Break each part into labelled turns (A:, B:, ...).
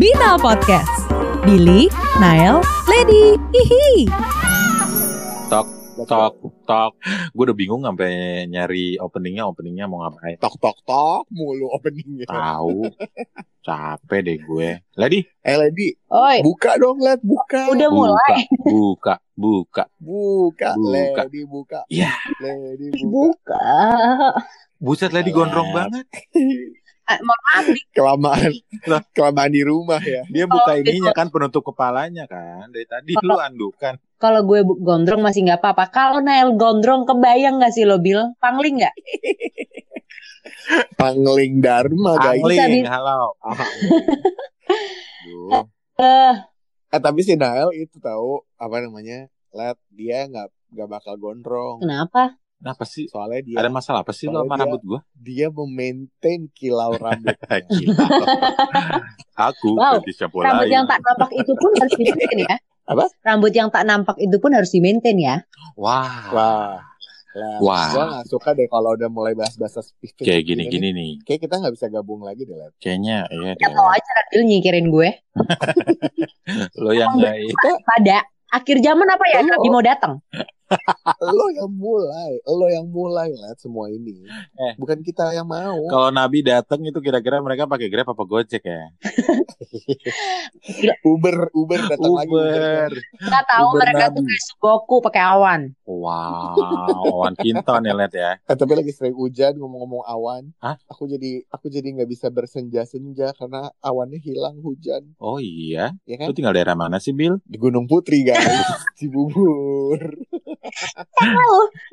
A: Binal Podcast. Billy, Nael, Lady, hihi.
B: Tok, tok, tok. Gue udah bingung sampai nyari openingnya, openingnya mau ngapain.
C: tok tok tok mulu openingnya.
B: Tahu. Capek deh gue. Lady,
C: Eh Lady,
D: Oi,
C: buka dong Led, buka.
D: udah mulai.
B: buka, buka, buka.
C: Buka,
B: Buka.
C: Lady buka.
B: Iya.
C: Lady buka.
D: Buka.
B: Buset Lady
D: Iya.
B: gondrong
C: Alah.
B: banget.
D: Eh, mohon maaf nih,
C: Kelamaan.
B: Lah.
C: Kelamaan di rumah ya.
B: Dia buka ininya kan penutup kepalanya kan. Dari tadi lu andukan.
D: kalau gue bu- gondrong masih nggak apa-apa. Kalau Nael gondrong kebayang nggak sih lo Bil? Pangling nggak?
C: Pangling Dharma guys.
D: Bisa,
B: Angling,
D: bisa.
B: halo. Ah. Duh.
D: Eh,
C: Eh tapi si Nael itu tahu apa namanya? Led, dia nggak nggak bakal gondrong.
D: kenapa?
B: Kenapa sih?
C: Soalnya dia
B: Hmm. Ada masalah apa sih lu sama
C: Soalnya dia-
B: rambut gue?
C: dia memaintain kilau rambut.
B: Gila. Aku
D: Wow,
B: di siapa
D: Rambut yang
B: lain.
D: tak nampak itu pun harus di-maintain ya.
C: Apa?
D: Rambut yang tak nampak itu pun harus di-maintain ya.
B: Iya. Wah,
C: Wah. Lah,
B: Wah.
C: gua gak suka deh kalau udah mulai bahas-bahas spesifik
B: kayak gini-gini nih.
C: Kayak kita nggak bisa gabung lagi deh, Led.
B: Kayaknya iya
D: Ya
B: deh.
D: tau aja lah, Bil nyingkirin gue.
B: Lo yang gak
D: Pada akhir zaman apa ya?
C: Lo.
D: Nabi mau datang.
C: lo yang mulai, lo yang mulai lah semua ini.
B: Eh.
C: Bukan kita yang mau.
B: Kalau Nabi datang itu kira-kira mereka pakai Grab apa Gojek ya?
C: Uber, Uber datang lagi. ya.
B: Uber.
D: Kita tahu
B: Uber
D: mereka tuh
B: Nabi.
D: kayak Sugoku pakai awan.
B: Wow, Wan Kinton ya lihat ya.
C: Eh, tapi lagi sering hujan ngomong-ngomong awan.
B: Hah?
C: Aku jadi aku jadi nggak bisa bersenja-senja karena awannya hilang hujan,
B: Oh iya,
C: ya
B: lu
C: kan?
B: tinggal daerah mana sih Bill?
C: Di Gunung Putri guys, Cibubur.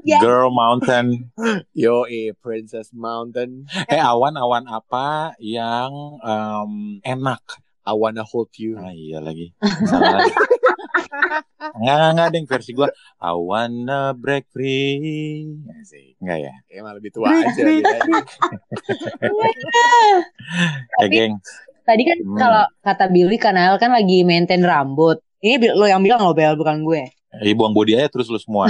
D: Ya.
B: Girl Mountain.
C: Yo, eh, Princess Mountain.
B: Eh awan-awan apa yang em, enak?
C: I wanna hold you.
B: Ah iya lagi. Salah. Enggak enggak enggak deng versi gua I wanna break free. Nggak sih. Enggak ya.
C: Emang lebih tua aja. dia tadi.
B: Eh geng.
D: Tadi kan
B: Hmm.
D: kalau kata Billy kan Nael kan lagi maintain rambut. Ini Bil- lo yang bilang lo Bel, bukan gue.
B: Eh, buang body aja terus lu semua.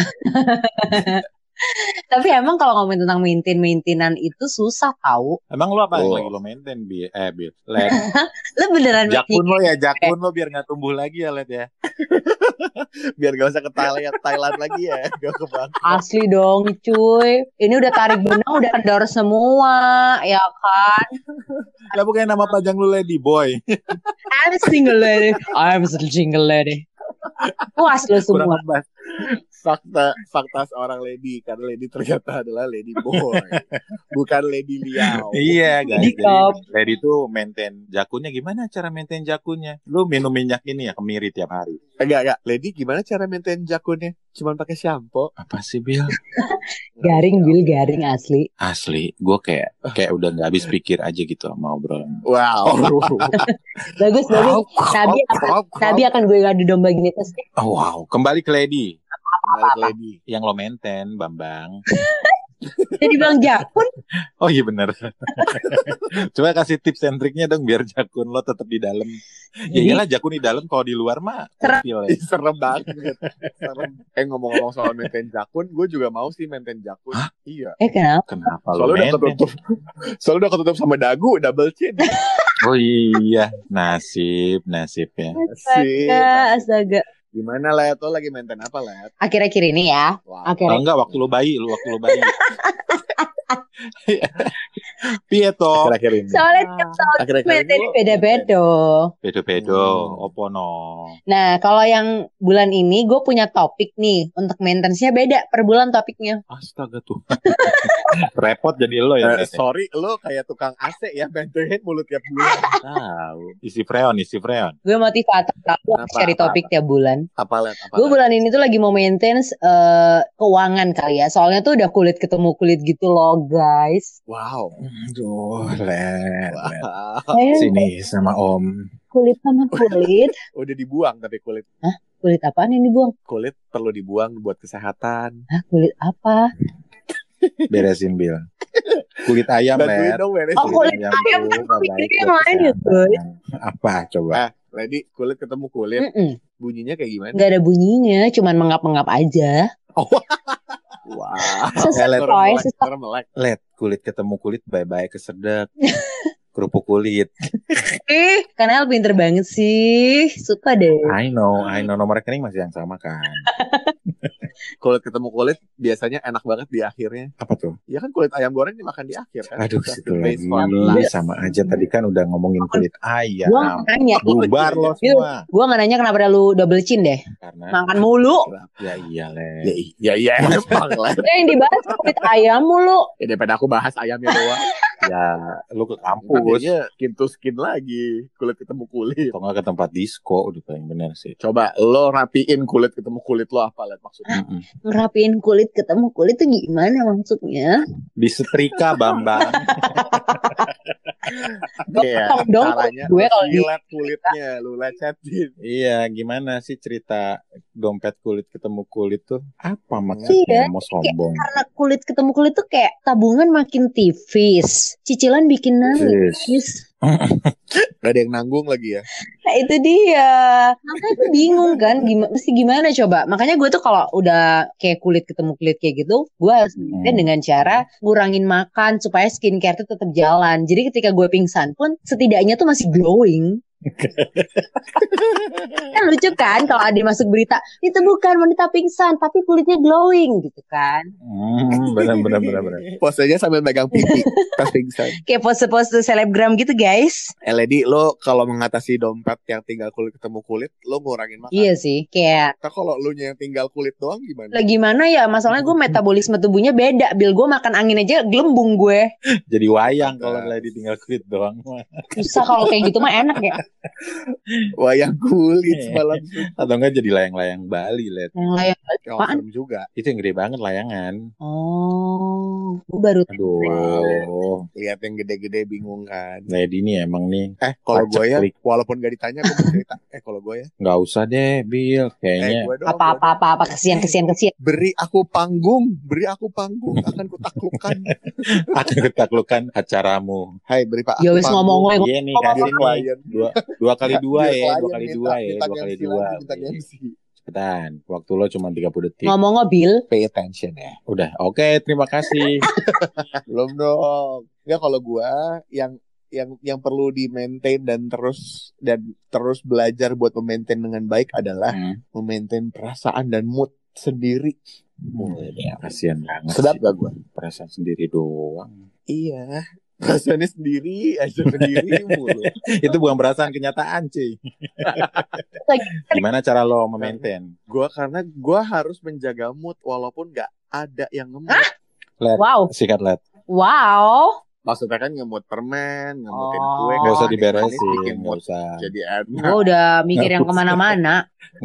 D: Tapi emang kalau ngomongin tentang maintain maintainan itu susah tahu.
B: Emang lu apa yang
C: Oh.
B: lagi lu maintain Bill? Eh Bill. Let.
D: Lo beneran
B: Jakun lo ya, jakun lo biar nggak tumbuh lagi ya Let ya.
C: Biar gak usah ke Thailand, Thailand lagi ya. Gak ke Bangkok.
D: asli dong cuy. Ini udah tarik benang udah kendor semua ya kan.
B: Lah bukan nama panjang lu Lady Boy.
D: I'm a single lady. I'm a single lady. Puas lo semua.
B: Kurang pas.
C: fakta fakta seorang lady karena lady ternyata adalah lady boy bukan lady liao
B: Iya guys.
D: Jadi,
B: Jadi,
D: Rob.
B: Lady tuh maintain jakunnya gimana cara maintain jakunnya? Lu minum minyak ini ya kemiri tiap hari.
C: enggak enggak lady gimana cara maintain jakunnya cuman pakai shampoo
B: Apa sih Bill?
D: Garing Bil garing asli.
B: Asli, gue kayak kayak udah nggak habis pikir aja gitu sama obrolan. Oh.
C: wow
D: Bagus bagus. Nabi akan, Nabi akan gue ngadu domba gini terus.
B: Oh, wow, kembali ke Lady
C: Balik lady
B: yang lo maintain, Bambang.
D: Jadi bilang jakun.
B: Oh iya bener. Coba kasih tips and triknya dong biar jakun lo tetap di dalam. Ya iyalah jakun di dalam, kalau di luar mah kecil ya.
C: Ih, serem banget serem eh ngomong-ngomong soal maintain jakun gue juga mau sih maintain jakun iya
D: Eh kenapa?
B: Kenapa lo
C: soalnya udah
B: maintain?
C: ketutup soalnya udah ketutup sama dagu double chin
B: Oh iya, nasib, nasib ya.
C: Sih.
D: Astaga, astaga.
C: gimana lah lo lagi maintain apa lah
D: Akhir-akhir ini ya.
C: wow.
D: Akhir
B: Oh, enggak waktu lo bayi, lu waktu lo bayi. Piye to?
C: akhir-akhir ini
D: Soalnya tiap tahun
C: akhir-akhir
D: maintain
C: lo-
D: beda-beda.
B: Pedo-pedo,
C: Hmm.
B: opo no.
D: Nah, kalau yang bulan ini gue punya topik nih untuk maintenance-nya beda per bulan topiknya.
B: Astaga tuh. Repot jadi lo ya.
C: Eh,
B: Net, ya.
C: sorry, lo kayak tukang AC ya, maintain mulut tiap bulan.
B: Tahu. Isi freon, isi freon.
D: Gue motivator tahu
C: Apa,
D: cari
C: apa,
D: topik tiap bulan.
C: apa lihat? Apa
D: Gue bulan ini tuh lagi mau maintenance eh, keuangan kali ya. Soalnya tuh udah kulit ketemu kulit gitu loh, guys.
C: Wow.
B: Aduh, Len.
C: Iya. Wah.
D: Eh,
B: Sini sama Om.
D: kulit sama kulit.
C: Udah dibuang tapi kulit
D: Kulit apaan ini, Buang?
C: kulit perlu dibuang buat kesehatan.
D: Hah, kulit apa?
B: Beresin Bill. Kulit ayam,
C: Bantuin
B: Len.
C: dong beresin.
D: Oh, kulit ayam
B: tuh
D: kan
B: nggak
D: kulit
B: baik
D: yang
B: buat
D: lain ya,
B: kesehatan. Apa coba?
C: Eh, Lady, kulit ketemu kulit,
D: Mm-mm.
C: bunyinya kayak gimana?
D: Hmm. Nggak ada bunyinya, cuman mengap-mengap aja.
C: Wah.
D: Sesuai,
C: Serem Ah, melek,
D: sesuai.
C: serem melek.
B: Let kulit ketemu kulit bye-bye kesedek. kerupuk kulit.
D: Ih, karena El pinter banget sih. Suka deh.
B: I know, I know nomor rekening masih yang sama kan.
C: Kulit ketemu kulit biasanya enak banget di akhirnya.
B: Apa tuh?
C: Ya kan kulit ayam goreng dimakan di akhir kan.
B: Aduh,
C: Kita
B: situ lagi
C: base formula.
B: sama aja tadi kan udah ngomongin kulit
D: Iya.
B: ayam.
D: Gua Iya, gitu. nggak nanya.
B: Ya Bubar lo semua.
D: Gua nggak nanya kenapa lu double chin deh.
B: Karena
D: Makan mulu.
B: ya iya
C: Ya
B: le.
C: i- ya iya emang lah.
D: Ya, yang dibahas kulit ayam mulu.
C: Ya daripada aku bahas ayamnya doang.
B: Ya lu ke kampus
C: Jadinya skin to skin lagi. Kulit ketemu kulit.
B: atau nggak ke tempat disco udah paling bener sih.
C: Coba lo rapiin kulit ketemu kulit lo apa lihat maksudnya?
B: Mm-mm.
D: Ngerapiin kulit ketemu kulit tuh gimana maksudnya?
B: Di setrika Bambang.
C: Iya.
D: Potong dong
C: Caranya
D: gue kalau di-
C: jilat kulitnya, lu lecetin.
B: Iya, gimana sih cerita dompet kulit ketemu kulit tuh? Apa
D: Iya,
B: maksudnya mau sombong?
D: Karena kulit ketemu kulit tuh kayak tabungan makin tipis. Cicilan bikin
B: Sis.
D: nangis.
C: Gak ada yang nanggung lagi ya.
D: Nah itu dia. Makanya gue bingung kan gimana mesti gimana coba. Makanya gue tuh kalau udah kayak kulit ketemu kulit kayak gitu, gue harus
B: Hmm.
D: dan dengan cara ngurangin makan supaya skincare tuh tetap jalan. Jadi ketika gue pingsan pun setidaknya tuh masih glowing. kan lucu kan kalau ada yang masuk berita itu bukan wanita pingsan tapi kulitnya glowing gitu kan
B: Hmm, benar benar benar benar.
C: Posenya sambil megang pipi. Pas pingsan.
D: kayak pose-pose selebgram gitu guys
C: Eh Lady, lo kalau mengatasi dompet yang tinggal kulit ketemu kulit, lo ngurangin makan.
D: iya sih kayak
C: Tapi kalau lu yang tinggal kulit doang
D: Lah
C: gimana?
D: gimana ya masalahnya gue metabolisme tubuhnya beda Bil gue makan angin aja gelembung gue
B: Jadi wayang kalau lagi tinggal kulit doang mah.
D: Susah kalau kayak gitu mah enak ya
C: Wayang kulit semalam.
B: Atau enggak jadi layang-layang Bali, Let.
D: Yang layak
C: Ya,
D: Apaan?
C: serem juga.
B: Itu yang gede banget layangan.
D: Oh Gue baru
B: Aduh,
C: Lihat yang gede-gede bingung kan.
B: Lady ini emang nih.
C: Eh, kalau
B: Acak
C: gue ya,
B: klik.
C: walaupun gak ditanya, gue mau cerita. Eh, kalau gue ya,
B: Nggak usah deh, Bill.
C: eh,
B: Kayaknya
C: gue doang. gua doang.
D: apa-apa apa-apa kesian kesian kesian
C: Beri aku panggung, beri aku panggung, akan kutaklukkan.
B: akan ketaklukan acaramu.
C: Hai, beri pak.
D: Ya
C: aku
D: wis
C: panggung.
D: ngomong lo
B: Iya nih,
C: Biar
B: kasih nih.
C: klien.
B: Dua, dua kali dua
C: Biar
B: ya,
C: klien
B: dua kali
C: minta-
B: dua ya,
C: minta
B: dua kali
C: MC
B: dua.
C: lagi, minta MC.
B: Cepetan, waktu lo cuma 30 detik.
D: Ngomong lo Bil
C: Pay attention ya.
B: Udah, oke, terima kasih.
C: Belum dong. Ya kalau gua yang yang yang perlu di maintain dan terus dan terus belajar buat memaintain dengan baik adalah
B: Hmm.
C: memaintain perasaan dan mood sendiri.
B: Mulai, Iya, kasihan banget.
C: Sedap
B: sih.
C: gak gua?
B: Perasaan sendiri doang.
C: Iya. Perasaannya sendiri, aja sendiri mulu.
B: Itu bukan perasaan kenyataan, cuy. Gimana cara lo memaintain?
C: Gua karena gua harus menjaga mood walaupun nggak ada yang ngemut.
D: Wow
B: Sikat let.
D: Wow
C: Maksudnya kan ngemut permen, ngemutin
D: Oh.
C: kue.
B: Gak usah
C: kan, manis-manis
B: diberesin,
C: bikin
B: gak
C: mood
B: usah.
C: jadi enak.
D: Gue udah mikir yang kemana-mana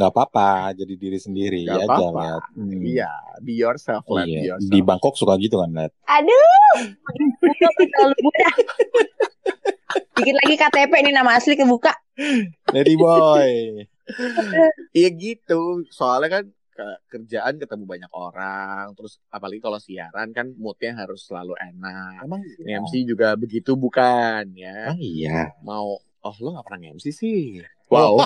B: Gak apa-apa, jadi diri sendiri
C: Nggak
B: aja,
C: apa-apa.
B: Let. Hmm.
C: Iya, be yourself, let
B: Iya.
C: be yourself.
B: Di Bangkok suka gitu kan, Let?
D: Aduh Terlalu mudah Bikin lagi KTP nih nama asli kebuka
B: Lady boy.
C: Iya gitu, soalnya kan ke- kerjaan ketemu banyak orang, terus apalagi kalau siaran kan moodnya harus selalu enak.
B: Emang
D: Iya.
C: MC juga begitu bukan ya?
B: Emang iya.
C: Mau, oh lo gak pernah MC sih? Wow.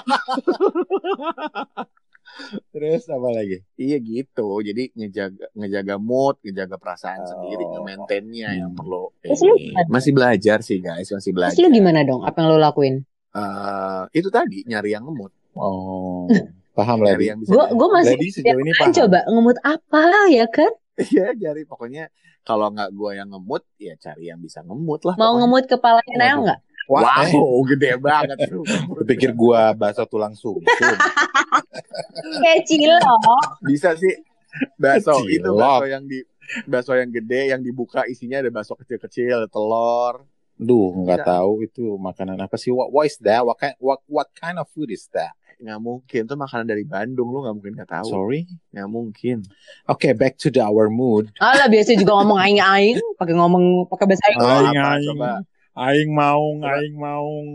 B: Terus apa lagi?
C: iya gitu, jadi ngejaga ngejaga mood, ngejaga perasaan
B: Oh.
C: sendiri, nge-maintainnya
B: Hmm.
C: yang perlu.
D: Terus lu
C: ini. Masih belajar sih guys, masih
D: Terus
C: belajar.
D: lu gimana dong apa yang lo lakuin
C: Eh, itu tadi nyari yang ngemut,
B: Oh, paham Lady.
C: nyari yang bisa.
D: Gue gue masih
B: Lady sejauh ini
D: kan
B: paham.
D: coba ngemut apa ya kan
C: Iya, nyari pokoknya kalau nggak gua yang ngemut, ya cari yang bisa ngemut lah.
D: Mau
C: pokoknya.
D: ngemut kepalanya Nael
B: Waduh.
D: nggak?
C: Wow,
B: Wah, eh.
C: gede banget.
B: Lu Eh, pikir gua bahasa tulang sungsum.
D: Kayak cilok.
C: bisa sih bakso
B: Cilok.
C: itu bakso yang di bakso yang gede yang dibuka isinya ada bakso kecil-kecil, telur.
B: Duh, nggak tahu itu makanan apa sih? What, what is that? What kind, what, what kind of food is that?
C: Nggak mungkin tuh makanan dari Bandung lu nggak mungkin nggak tahu.
B: Sorry.
C: Nggak mungkin.
B: Oke, back to the our mood.
D: Alah biasa Ah, juga ngomong aing-aing, pakai ngomong pakai bahasa aing.
B: Aing,
C: Apa,
B: Oh, aing.
C: Coba.
B: Aing maung,
C: Coba.
B: aing maung.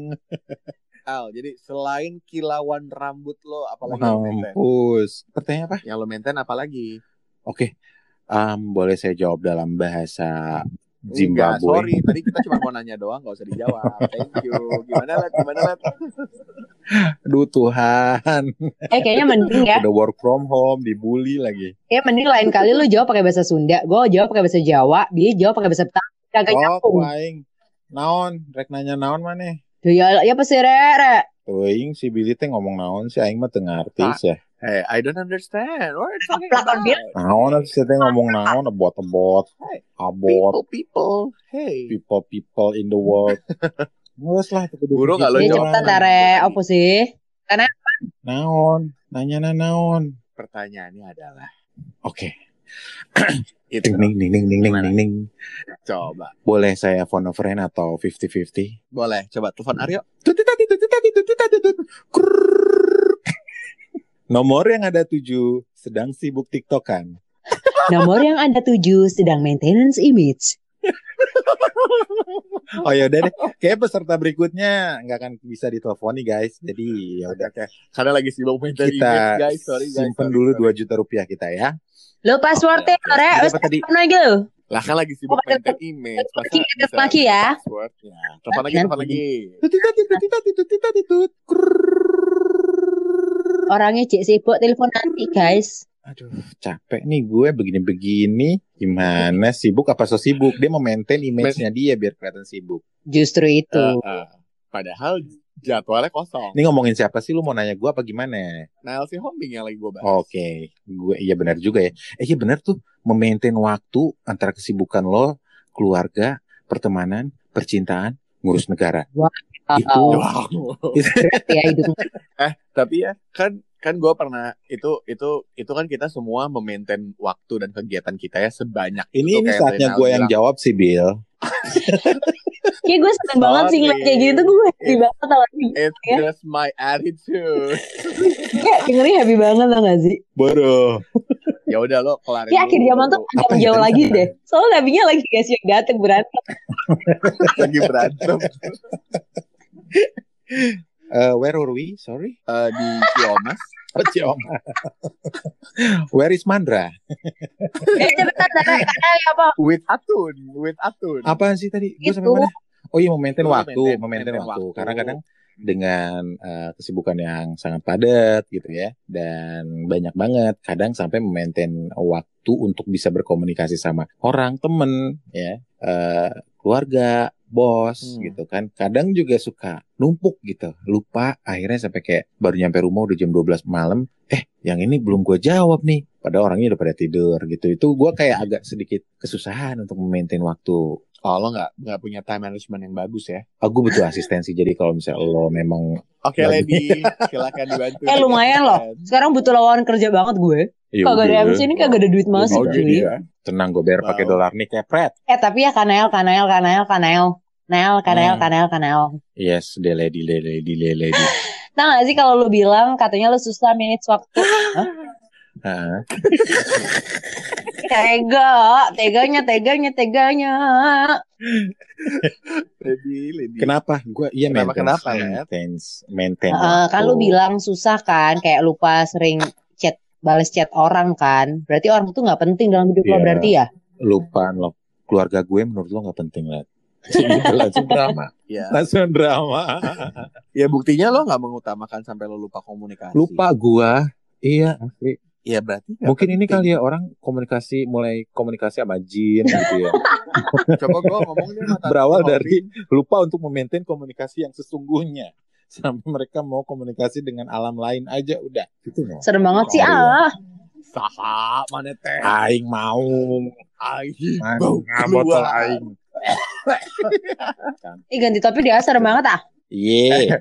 C: Al, jadi selain kilauan rambut lo apalagi yang lo maintain?
B: Mampus. Pertanyaan apa?
C: Yang lo maintain apalagi?
B: Oke. Um, boleh saya jawab dalam bahasa
C: Enggak,
B: Zimbabwe.
C: sorry, tadi kita cuma mau nanya doang, nggak usah dijawab. Thank you. Gimana lah, gimana lah.
B: Aduh Tuhan,
D: Eh kayaknya mending ya.
B: udah work from home, dibully lagi.
D: Ya mending lain kali lu jawab pakai bahasa Sunda, gue jawab pakai bahasa Jawa, dia jawab pakai bahasa Betawi. Kagak
B: Oh,
D: nyambung.
B: tuh aing. Naon, rek nanya naon mana?
D: Tuh, ya ya pasti rere.
B: Tuing si Billy teh ngomong naon sih aing mah teu ngartis ya.
C: Hey, I don't understand. What are you talking
D: Plak on
C: about?
D: dia.
B: Naon atuh si teh ngomong naon abot-abot. Abot
C: People, people. Hey.
B: people people in the world. Ngus lah teu kudu
C: Buruk
B: begitu.
C: kalau
D: Dia
C: jawab.
D: cepetan Oh, tare, apa sih?
B: Naon, nanya naon.
C: Pertanyaannya adalah,
B: Oke,
C: itu
B: ding ding ding ding ding ding ding.
C: coba.
B: Boleh saya phone a friend atau 50-50?
C: Boleh, coba telepon Aryo.
B: Nomor yang ada tujuh sedang sibuk tiktokan.
D: Nomor yang Anda tuju sedang maintenance image.
B: Oh ya udah deh, kayak peserta berikutnya nggak akan bisa diteleponi guys. Jadi ya udah
C: Karena lagi sibuk main dari
B: kita
C: image, guys. Sorry, guys.
B: simpen
C: Sorry,
B: dulu
C: sorry.
B: 2 juta rupiah kita ya.
D: Lo passwordnya
C: Oke, oke.
D: tare,
B: Jadi
D: wes
B: apa tadi?
D: pernah gitu.
C: Lah kan lagi
D: Oh,
C: sibuk
D: pakai
C: maintain image. Masa
D: pakai
C: bisa
D: maki ya?
C: Passwordnya. Telepon lagi, telepon lagi.
D: Orangnya cek sibuk telepon nanti guys.
B: Aduh capek nih gue begini-begini. Gimana sibuk apa so sibuk? Dia mau maintain image-nya dia biar kelihatan sibuk.
D: Justru itu.
C: Eh, eh. Padahal jadwalnya kosong.
B: Ini ngomongin siapa sih? Lu mau nanya gue apa gimana?
C: Nah, si Hombing yang lagi gue bahas.
B: Oke, gue iya benar juga ya. Eh, iya benar tuh, memaintain waktu antara kesibukan lo, keluarga, pertemanan, percintaan, ngurus negara. Eh, gitu.
D: Oh,
C: Wow.
D: ya hidup.
C: Tapi ya kan kan gue pernah itu itu itu kan kita semua memaintain waktu dan kegiatan kita ya sebanyak itu
B: Ini ini
C: kayak
B: saatnya
C: Renal
B: gue yang
C: bilang,
B: jawab sih, Bill.
D: Kayak gue seneng banget sih ngeliat kayak gitu gue happy banget tau gak sih?
C: It's
D: ya.
C: just my attitude.
D: Kayak dengerin happy banget tau gak sih?
B: Bodoh.
C: ya udah lo kelarin.
D: Kayak Iya, akhir
C: dulu.
D: zaman tuh
B: Apa
D: agak
B: ya
D: jauh
B: tadi
D: lagi
B: sama?
D: deh. Soalnya nabinya lagi guys yang dateng berantem.
C: lagi berantem
B: Eh, where are we? Sorry.
C: eh, di Kiomas.
B: Oh, Ciom. where is Mandra?
D: Eh cepetan tare, karena apa?
C: With Atun, with Atun.
B: Apaan sih tadi? Gue sampai
D: Itu.
B: mana? Oh iya, memaintain
C: Lu
B: waktu,
C: maintain-
B: memaintain
C: maintain
B: waktu.
C: waktu.
B: Karena kadang dengan eh, kesibukan yang sangat padat gitu ya dan banyak banget kadang sampai memaintain waktu untuk bisa berkomunikasi sama orang temen ya eh, keluarga bos
C: Hmm.
B: gitu kan kadang juga suka numpuk gitu lupa akhirnya sampai kayak baru nyampe rumah udah jam 12 malam eh yang ini belum gue jawab nih pada orangnya udah pada tidur gitu itu gue kayak agak sedikit kesusahan untuk memaintain waktu
C: Oh, lo nggak nggak punya time management yang bagus ya?
B: aku Ah, butuh asistensi jadi kalau misalnya lo memang
C: Oke,
B: Bagus.
C: lady, silakan dibantu.
D: Eh lumayan loh. Sekarang butuh lawan kerja banget gue.
B: ya
D: Kagak ada
B: udah.
D: MC ini kagak ada duit banget sih
B: Oh,
D: cuy.
C: Iya.
B: gini ya. Tenang gue bayar pakai
C: Wow.
B: dolar nih kepret.
D: Eh tapi ya kanel kanel kanel kanel kanel kanel
B: Hmm.
D: kanel kanel.
B: Yes, the lady, the lady, the lady.
D: Nah gak sih kalau lu bilang katanya lu susah manage waktu
B: Heeh.
D: tega, teganya, teganya, teganya.
C: Lady, lady.
B: kenapa? Gue iya
C: Kenapa,
B: maintenance,
C: kenapa, Let?
B: maintenance, maintenance. Oh,
D: Heeh, kan lu
B: waktu.
D: bilang susah kan, kayak lupa sering chat, balas chat orang kan. Berarti orang itu nggak penting dalam hidup lo
B: Iya.
D: berarti ya.
B: lupa lo keluarga gue menurut lo nggak penting lah. Gitu, langsung drama,
C: Ya.
B: langsung drama.
C: ya buktinya lo nggak mengutamakan sampai lo lupa komunikasi.
B: Lupa gue. Iya, asli.
C: Ya berarti nggak
B: Mungkin ini
C: penting.
B: kali ya orang komunikasi mulai komunikasi sama jin gitu ya.
C: Coba gue ngomong deh sama Tante
B: Berawal
C: Hobi.
B: dari lupa untuk memaintain komunikasi yang sesungguhnya sampai mereka mau komunikasi dengan alam lain aja udah. Gitu ya.
D: Serem banget sih
B: Iya.
D: ah.
C: Saha Ah, mana teh
B: Aing mau
C: Aih,
B: Mana
C: bau
B: botol
C: keluar.
B: aing.
D: Ih ganti topik dia serem banget ah.
C: Eh,
B: Iya.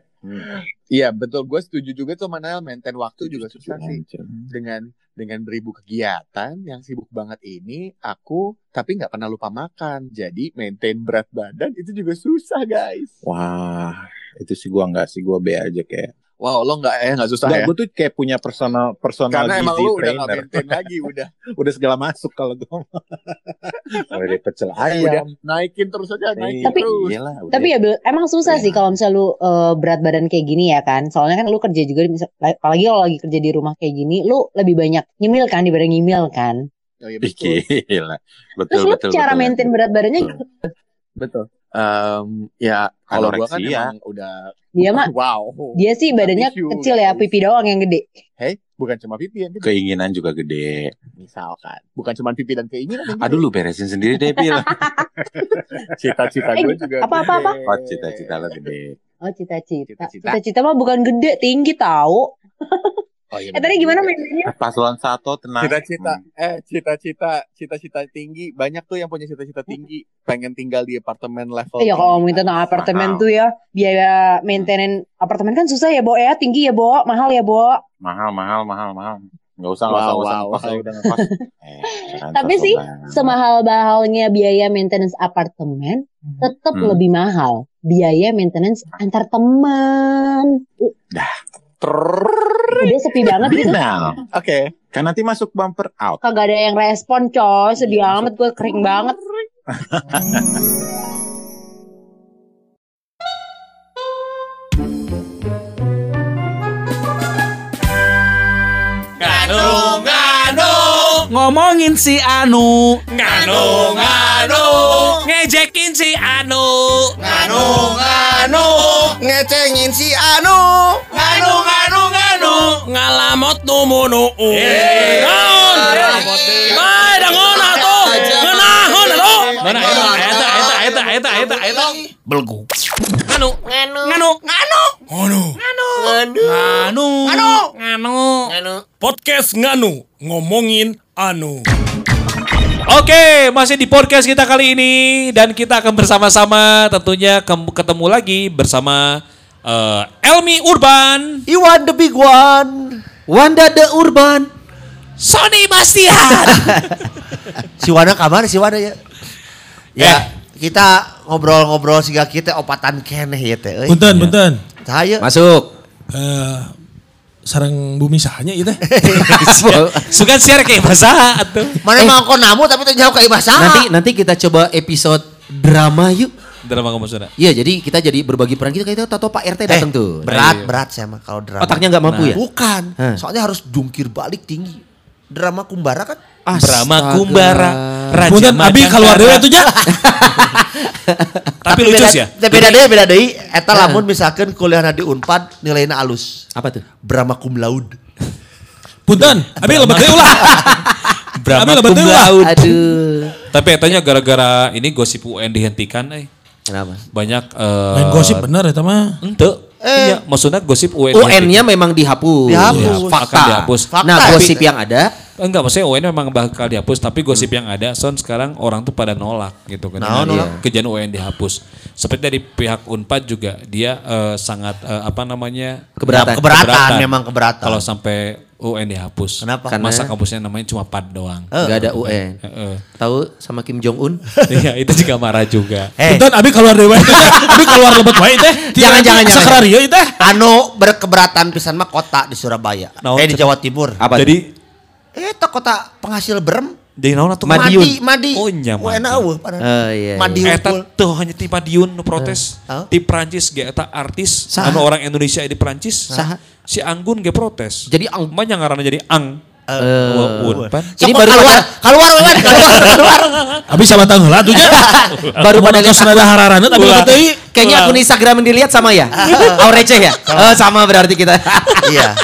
C: Iya betul gue setuju juga tuh Manel maintain waktu juga susah sih dengan dengan beribu kegiatan yang sibuk banget ini aku tapi nggak pernah lupa makan jadi maintain berat badan itu juga susah guys
B: Wah, itu sih gua enggak sih gua B aja kayak.
C: wow lo nggak eh nggak susah
B: Enggak,
C: ya
B: gua tuh kayak punya personal personal
C: karena
B: gizi
C: emang lo udah nggak
B: trainer.
C: maintain lagi udah
B: udah segala masuk kalau gua. Mulai dari pecel
C: udah
B: ayam.
C: naikin terus aja naikin
D: Tapi-
C: terus
B: iyalah, udah.
D: Tapi ya Bil, emang susah
B: Iya.
D: sih kalau misalnya lu eh, berat badan kayak gini ya kan. Soalnya kan lu kerja juga misal- apalagi kalau lagi kerja di rumah kayak gini, lu lebih banyak nyemil kan dibanding ngimil kan.
C: oh, iya,
B: Ih,
C: betul
B: gila. Betul
D: Terus lu
B: betul.
D: cara
B: betul.
D: maintain berat badannya
B: Betul.
C: betul Em, ya kalau gua kan
B: Anoreksia.
C: emang udah
D: Dia mah
C: wow.
D: dia sih badannya
C: Tissue,
D: kecil ya,
C: guys.
D: pipi doang yang gede.
C: Hei, bukan cuma pipi yang gede,
B: Keinginan juga gede.
C: misalkan. Bukan cuma pipi dan keinginan. yang gitu. gede.
B: Aduh lu beresin sendiri deh, Bil.
C: cita-cita
D: Eh,
C: gue juga.
D: apa, apa, apa?
C: gede.
B: Oh, cita-cita lu gede.
D: Oh cita-cita.
C: Cita-cita.
D: Cita-cita mah bukan gede, tinggi tahu.
C: Oh, iya,
D: Eh tadi gimana
C: bener.
D: mainnya?
B: Eh, Paslon satu tenang. Hmm,
C: Cita-cita, eh cita-cita, cita-cita tinggi. Banyak tuh yang punya cita-cita tinggi. Pengen tinggal di apartemen level.
D: Ya kalau ngomongin tentang
C: tinggi.
D: apartemen
B: Oh, mahal.
D: tuh ya, biaya maintenance apartemen kan susah ya, Bo ya, tinggi ya, Bo, mahal ya, Bo.
B: Mahal, mahal, mahal, mahal. Nggak usah, nggak
C: Wow,
B: usah, nggak usah.
C: wow,
B: ngekos
C: wow.
B: aja, udah ngekos. Eh, jangan
D: Tapi
B: sosok
D: sih,
B: banget.
D: Semahal-mahalnya biaya maintenance apartemen, tetap
B: Hmm.
D: lebih mahal biaya maintenance antar teman.
C: Trrrr.
D: Udah sepi banget gitu.
B: Binal.
C: Oke.
B: Kan nanti masuk bumper out.
D: Kagak ada yang respon coy Sedih
B: Iya,
D: amat gue kering banget
E: Nganu, nganu,
F: Ngomongin si Anu
E: nganu, nganu,
F: Ngejekin si Anu
E: nganu, nganu, ngecengin si Anu, nganu, nganu, nganu,
F: Ngalamot numunu Naon Bae dangon atuh Ngenahon atuh
E: Mana,
F: eta,
E: mana,
F: eta, eta, eta, eta, eta, eta Belgu Nganu
E: nganu,
F: Nganu
E: nganu,
F: Nganu
E: nganu,
F: Nganu
E: Nganu.
F: Nganu
E: nganu.
F: Podcast Nganu Ngomongin Anu Oke, masih di podcast kita kali ini dan kita akan bersama-sama tentunya kem- ketemu lagi bersama eh, Elmi Urban
G: Iwan the big one. Wanda the urban.
F: Sony Bastian.
G: Si Wanda kamar si Wanda ya.
H: Eh.
G: Ya, kita ngobrol-ngobrol siga kita opatan keneh ya teh. euy.
F: Iya.
I: Punten, punten.
G: Tah ya.
H: Masuk.
I: Eh, sarang bumi sahanya itu.
F: Sugan share kayak bahasa atuh.
G: Mana
H: Eh.
G: mau kau namu tapi teh jauh ka ibah saha.
H: nanti nanti kita coba episode drama yuk.
F: Drama kamu sudah.
I: Ya.
H: Iya, jadi kita jadi berbagi peran gitu. kita kita tato Pak RT
G: Eh,
H: datang tuh. Iya.
G: Berat, berat saya mah kalau drama.
H: Otaknya nggak mampu ya?
G: Bukan.
H: Hah.
G: Soalnya harus jungkir balik tinggi. Drama Kumbara kan
F: Brahma Kumbara. Raja
I: Punten,
F: Macan
I: abi keluar
F: Kara.
I: deui atuh nya.
F: Tapi lucu sih ya.
G: Tapi beda deh, beda deh. Eta lamun misalkan kuliahna di Unpad nilainya alus.
H: Eh. Apa tuh?
G: Brahma cum laude.
I: Punten, abi lebet deui ulah. Abi
F: Brahma
I: lebet deui ulah.
F: Kumbara.
H: Nah. Aduh.
F: Tapi katanya gara-gara ini gosip UN dihentikan eh.
H: Kenapa?
F: Banyak eh
I: Main gosip bener eta mah.
F: Ente.
G: Eh.
F: Iya, maksudnya gosip UN.
G: ya?
H: UN-nya memang dihapus. Iya,
G: Dihapus.
F: Ya,
H: Fakta.
F: akan dihapus.
G: Fakta.
H: Nah,
G: Tapi-
H: gosip yang ada
F: Enggak, maksudnya UN memang bakal dihapus, tapi gosip yang ada sound sekarang orang tuh pada nolak gitu kan.
G: Nah, nolak.
F: Kejadian UN dihapus. Seperti dari pihak Unpad juga dia eh, sangat eh, apa namanya?
H: keberatan.
G: Keberatan. memang keberatan.
F: Kalau sampai UN dihapus.
G: Kenapa?
F: Karena masa
H: Karena-
F: kampusnya namanya cuma PAD doang.
H: Enggak ada UN.
F: Heeh.
H: Tahu sama Kim Jong Un?
F: Iya, itu juga marah juga.
G: Eh,
I: Punten, abi keluar deui. Abi keluar lebet wae teh.
G: Jangan, jangan, jangan.
I: Sakrar ieu teh.
G: anu berkeberatan pisan mah kota di Surabaya.
F: Naon Ah.
G: eh di
F: tuh?
G: Jawa Timur.
H: Apa? tuh?
F: Jadi
G: Eh, Eta kota penghasil berem.
F: jadi naon atuh?
H: Madiun.
G: Madi.
F: Oh, Eh, nya
G: Wah, enak
F: Madiun.
G: eueuh, padahal.
H: Oh, iya, iya.
G: Madiun.
F: Eta tuh hanya ti Madiun nu protes.
G: Hah?
F: Ti Prancis ge eta artis
H: Saha?
F: anu orang Indonesia di Prancis.
H: Saha?
F: Si Anggun ge protes.
H: Jadi ang-
F: banyak ngaranna jadi Ang.
G: Eh.
F: Wah, Unpan.
G: Ini
H: Ini
G: baru
H: baru
G: keluar, keluar, keluar,
F: Iya.
G: keluar, keluar.
I: Abi sabatang heula atuh nya.
H: Baru pada
I: lihat
H: lihat
I: ada hararannya tapi lebet deui.
H: Kayaknya akun Instagram yang dilihat sama ya? Oh receh ya? Oh sama berarti kita.
G: Iya.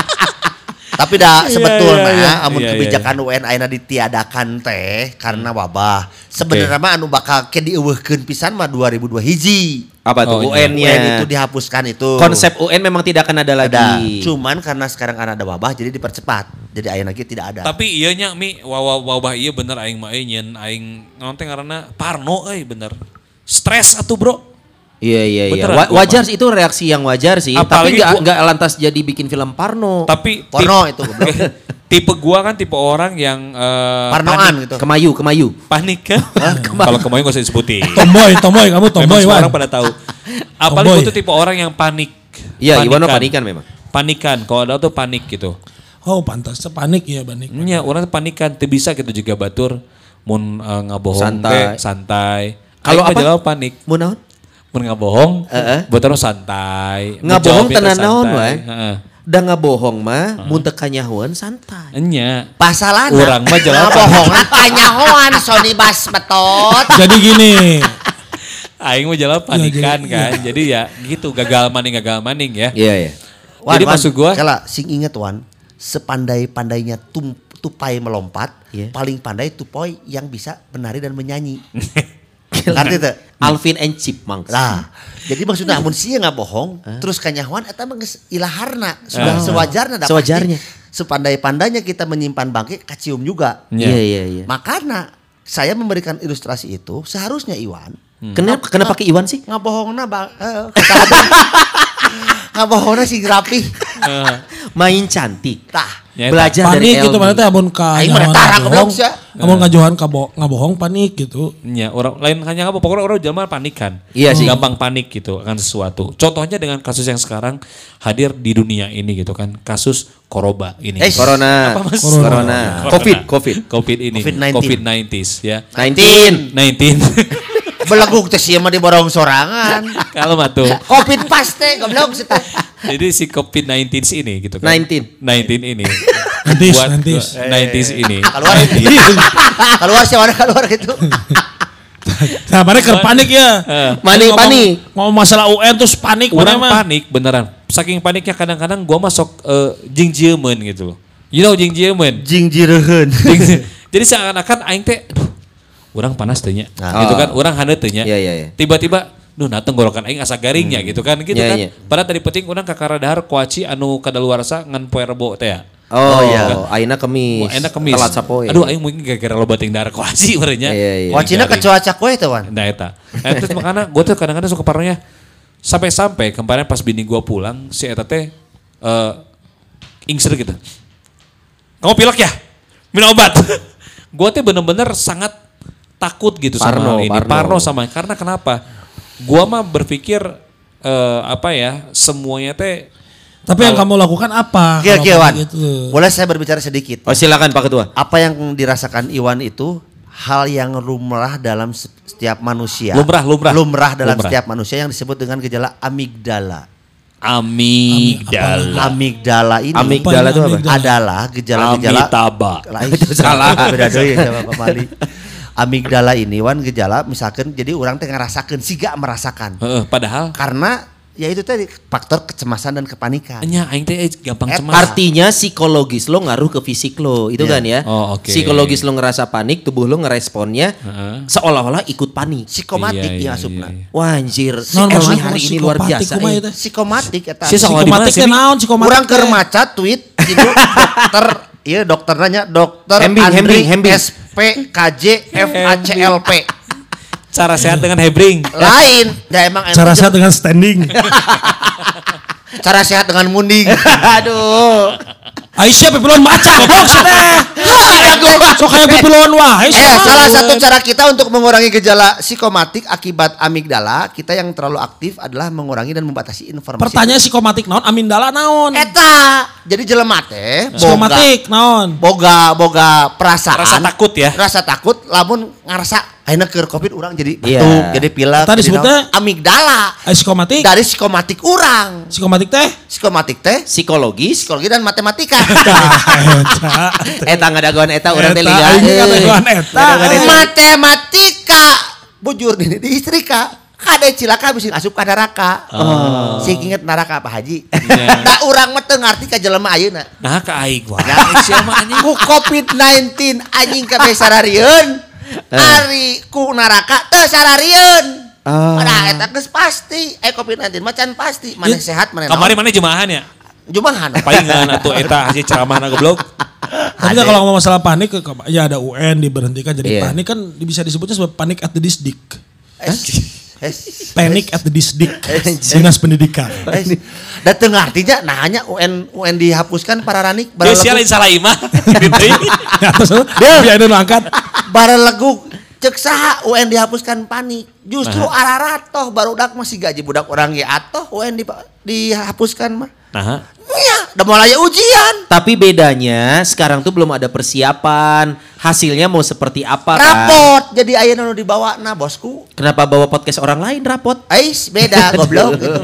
G: Tapi dah sebetulnya
F: iya, iya. Iya, iya,
G: amun
F: Hmm.
G: kebijakan UN ayeuna ditiadakan teh karena wabah. Sebenarnya mah anu bakal ke dieuweuhkeun pisan mah 2002 hiji.
H: Apa
F: Oh,
H: tuh
F: iya.
H: UN-nya?
G: UN itu dihapuskan itu.
H: Konsep UN memang tidak akan ada
G: ada.
H: lagi.
G: Cuman karena sekarang kan ada wabah jadi dipercepat. Jadi ayeuna lagi tidak ada.
F: Tapi iya nya mi wabah wabah iya bener aing mah euy nyen aing naon teh ngaranna parno euy bener. Stres atuh bro.
H: Iya iya iya.
F: Beneran,
H: Wa-
F: gua
H: wajar sih itu reaksi yang wajar sih.
F: Apalagi
H: Tapi nggak
F: gua-
H: nggak lantas jadi bikin film Parno.
F: Tapi tip-
G: Porno itu goblok.
F: tipe gua kan tipe orang yang eh,
G: Parnoan gitu.
H: Kemayu kemayu.
F: panik kan. Kalau kemarin gak usah disebutin.
I: Tomboy, tomboy, kamu tomboy,
F: Memang semua
I: Wan.
F: orang pada tahu. Apalagi
I: Tomboy.
F: gua tuh tipe orang yang panik.
H: Iya Iwano panikan memang.
F: Panikan, kalau ada tuh panik gitu.
I: Oh, pantas panik ya, Banik.
F: Nya orang tuh panikan, tuh bisa gitu juga batur. Mun eh, ngabohong
H: Santai.
F: teh santai.
H: Kalau
F: Aing mah
H: apa?
F: jelas panik.
H: Mau naon?
F: Mun ngabohong,
H: Heeh.
F: buat orang santai. Mun
H: Ngabohong
F: jawabnya teh
H: tenan naon
F: santai.
H: wae.
F: Heeh.
H: Da ngabohong mah mun teu kanyahoan santai.
F: Enya.
G: Pasalana.
F: Urang mah jelas
G: Nah, bohongan panyahoan Sony Bas betot.
I: Jadi gini,
F: Aing mau jalan panikan
I: jadi-
F: kan. Jadi ya gitu gagal maning gagal maning ya.
H: Iya, iya.
F: Jadi maksud gua-
G: Kala, sing inget Wan, sepandai-pandainya tum- tupai melompat,
H: Iya.
G: paling pandai tupai yang bisa menari dan menyanyi. Ngerti tuh?
H: Alvin and Chipmunks.
G: Nah, jadi maksudnya amun sih nggak bohong, terus kanyahuan eta mah geus ilaharna, sudah sewajarna dapat.
H: Sewajarnya.
G: Sepandai-pandainya kita menyimpan bangke kacium juga.
H: Iya, iya, iya.
G: Makanya saya memberikan ilustrasi itu seharusnya Iwan
H: Kenapa kenapa pakai Iwan sih?
G: ngabohongna bang eh, ngabohongna si rapi
H: Main cantik.
G: tah
F: Ya,
H: Belajar dari
I: panik gitu
H: Elmi.
I: mana teh amun ka
G: Aing mah
I: nyahoan
G: datang,
I: bohong.
G: goblok ya. sia.
I: Amun ka Johan ka bo- ngabohong panik gitu.
F: Ya, orang lain hanya apa pokoknya orang jalan panik kan.
H: Iya sih.
F: Gampang panik gitu akan sesuatu. Contohnya dengan kasus yang sekarang hadir di dunia ini gitu kan. Kasus koroba ini.
G: Eh,
H: Corona.
F: Apa, Mas?
H: nah, Corona. Covid, Covid.
F: Covid ini.
G: COVID-19.
F: Covid 90s ya.
H: 19.
F: 19.
G: beleguk teh sia mah diborong sorangan
F: Kalau mah tuh.
G: covid pas teh goblok sih teh.
F: Jadi si COVID-19 ini gitu kan.
H: 19.
F: 19 ini.
I: 90s,
F: Buat
I: 90s.
F: 90s ini.
G: keluar keluar sih mana keluar gitu
I: Nah, mana keur panik ya.
G: Eh.
H: Panik,
I: Ngomong-
H: panik.
I: Ngomong masalah UN terus panik
F: Orang
I: mana mah.
F: panik beneran. Saking paniknya kadang-kadang gua masuk uh, jingjiemen gitu loh. You know jingjiemen?
G: jingjireun
F: Jing- Jadi seakan-akan aing teh aduh, orang panas teh nya.
H: Ah.
F: Gitu kan, orang hane teh nya.
H: Iya, iya, iya.
F: Tiba-tiba duh nateng gorokan aing asa garingnya gitu kan gitu
H: Iya,
F: kan.
H: iya.
F: Padahal tadi penting urang ka karadahar kuaci anu kadaluarsa ngan poe rebo teh. ya.
H: Oh, iya. Aina kemis.
F: Wah, enak kemis.
H: Telat sapoe.
F: Aduh aing mungkin gara-gara loba ting darah kuaci urenya.
H: Iya, iya.
G: wacina ke cuaca koe teh wan
F: Nah eta. Nah, terus makanya gue tuh kadang-kadang suka parnonya sampai-sampai kemarin pas bini gue pulang si eta teh eh ingser gitu. Kamu pilek ya? Minum obat. gue tuh bener-bener sangat takut gitu
H: Parno,
F: sama hal ini.
H: parno.
F: Parno. sama karena kenapa? Gua mah berpikir eh apa ya semuanya teh
I: Tapi yang kamu lakukan apa? kalau
G: Oke
I: panik
G: oke Wan,
I: gitu?
G: boleh saya berbicara sedikit?
H: Oh, silakan Pak Ketua.
G: Apa yang dirasakan Iwan itu hal yang lumrah dalam se- setiap
H: Ya.
G: manusia.
F: Lumrah, lumrah.
G: Lumrah dalam
F: Lumrah.
G: setiap manusia yang disebut dengan gejala amigdala.
F: amigdala.
G: Amigdala ini
H: Amigdala itu apa?
G: adalah gejala-gejala
F: Amitaba.
G: lain salah beda deui sama Pak Mali. Amigdala ini wan gejala misalkan jadi orang teh ngerasakeun siga merasakan.
F: Heeh, padahal
G: Karena ya itu tadi faktor kecemasan dan kepanikan.
F: nya aing teh gampang
G: Eh,
F: cemas. Iya,
H: Artinya psikologis lo ngaruh ke fisik lo, itu
G: Iya.
H: kan ya.
F: Oh, oke.
H: Psikologis lo ngerasa panik, tubuh lo ngeresponnya
F: Heeh.
H: seolah-olah ikut panik.
F: Iya,
G: Psikomatik
F: iya,
G: ya asupna.
F: iya,
H: Wah anjir, si
I: Normal
H: Elmi
I: lah,
H: hari
I: kumaha
H: ini luar
I: psikopatik
H: biasa.
I: kumaha
H: eh.
I: itu.
G: Psikomatik eta.
F: Si sok- Kalau di mana
I: Psikomatik
F: sih,
I: teh
F: Bi?
I: naon psikomatik?
G: Kurang keur
I: teh?
G: maca tweet gitu dokter iya dokter nanya dokter
H: Hembing,
G: Andri
H: hembing, hembing.
G: SPKJ FACLP
F: Cara sehat dengan hebring.
G: lain ya emang emang
I: Cara
G: itu
I: saya dengan standing.
G: cara sehat dengan munding
H: Aduh.
I: Aisyah pepelon maca goblok sih teh. Sok kayak pepelon wah.
G: Eh, salah satu cara kita untuk mengurangi gejala psikomatik akibat amigdala kita yang terlalu aktif adalah mengurangi dan membatasi informasi
I: Pertanyaan psikomatik naon amindala naon?
H: Eh,
G: eta jadi eh. jelema teh boga
I: Psikomatik naon?
G: boga boga perasaan
F: Rasa takut ya.
G: rasa takut lamun ngerasa akhirnya ke covid orang jadi batuk
H: Iya.
G: jadi pilek
I: Tadi
G: jadi
I: sebutnya-
G: naon. amigdala
I: Eh, psikomatik?
G: dari psikomatik orang
I: Psikomatik teh?
G: psikomatik teh
H: Psikologis.
G: psikologi dan matematika
H: Eta ngadagoan eta urang teh
I: Eta,
H: liga.
I: aing
H: eh.
I: ngadagoan eta.
H: Ngadagoan eta.
G: matematika bujur di, di istri ka kada cilaka bisa asup ka neraka oh. sing inget neraka apa haji
H: Iya.
G: da urang mah teu ngarti ka jelema ayeuna
F: Nah ke aing wah.
G: ku covid-19 anjing kabeh sararieun ari ku neraka teu sararieun
H: Ah.
G: Padahal eta geus pasti, eh COVID-19 macan pasti, mana sehat mana
F: Kemarin mana jemahan ya?
G: Jumahan.
F: Palingan atau eta hasil ceramah na goblok.
I: Tapi kan kalau ngomong masalah panik, ke- ke- ya ada UN diberhentikan jadi
H: Iya.
I: panik kan bisa disebutnya sebagai panik at the disdik.
G: Eh, Hes.
I: Panic at the disdik. Dinas Pendidikan.
G: Eh, Da teu ngartinya nah hanya UN UN dihapuskan para ranik
F: Dia sial salah imah. Gitu.
I: Ya terus biarin lu angkat.
G: baraleguk cek saha UN dihapuskan panik justru araratoh barudak masih gaji budak orang ge atoh UN di, dihapuskan mah
F: Nah,
G: iya da mulai aya ujian
H: Tapi bedanya sekarang tuh belum ada persiapan. Hasilnya mau seperti apa kan?
G: rapot jadi aya nu dibawa na bosku
H: Kenapa bawa podcast orang lain rapot?
G: Ais beda goblok gitu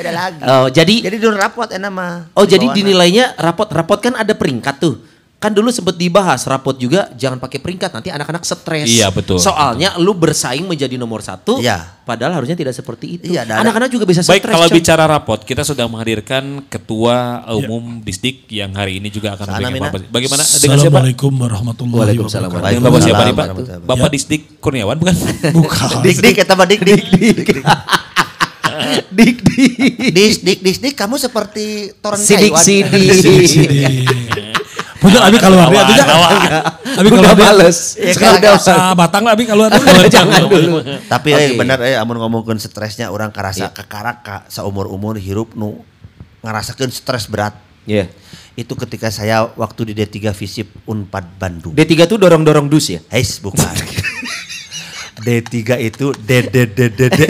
G: beda lagi
H: Oh, jadi
G: jadi dun rapot enak mah
H: Oh
G: Dibawa
H: jadi
G: na.
H: dinilainya rapot rapot kan ada peringkat tuh. kan dulu sempet dibahas rapot juga jangan pakai peringkat nanti anak-anak stres.
F: Iya, betul.
H: Soalnya lu bersaing menjadi nomor satu.
G: Iya.
H: Padahal harusnya tidak seperti itu.
G: Iya, ada-
H: anak-anak juga bisa stres.
F: Baik, kalau
H: Cong.
F: bicara rapot, kita sudah menghadirkan Ketua Umum Disdik yang hari ini juga akan
G: Sana,
F: memberikan
G: Mina.
F: apa Bagaimana dengan siapa?
I: Assalamualaikum warahmatullahi
H: Waalaikumsalam
I: wabarakatuh.
F: Dengan Bapak siapa nih Pak?
G: Waalaikumsalam.
F: Bapak Disdik Kurniawan bukan?
I: Bukan.
G: Dik dik kata Pak dik dik dik dik dik dik dik dik kamu seperti toren
H: Sidik
G: Taiwan.
H: sidik.
I: Bener abi kalau abi
F: Kawan,
I: atunya.
F: kawan.
I: Abi kalau
H: Udah
I: abi.
H: males.
G: Ya,
I: Sekarang
G: kalau-
I: sa batang lah abi kalau abi.
H: Jangan dulu.
G: Tapi
H: Oke. Iya.
G: eh benar eh amun ngomongkeun stresnya orang karasa kekaraka saumur-umur hirup nu ngarasakeun stres berat.
H: Iya.
G: Itu ketika saya waktu di D3 Visip Unpad Bandung.
H: D3 tuh dorong-dorong dus ya.
G: Heis bukan. D3 itu D D D D D.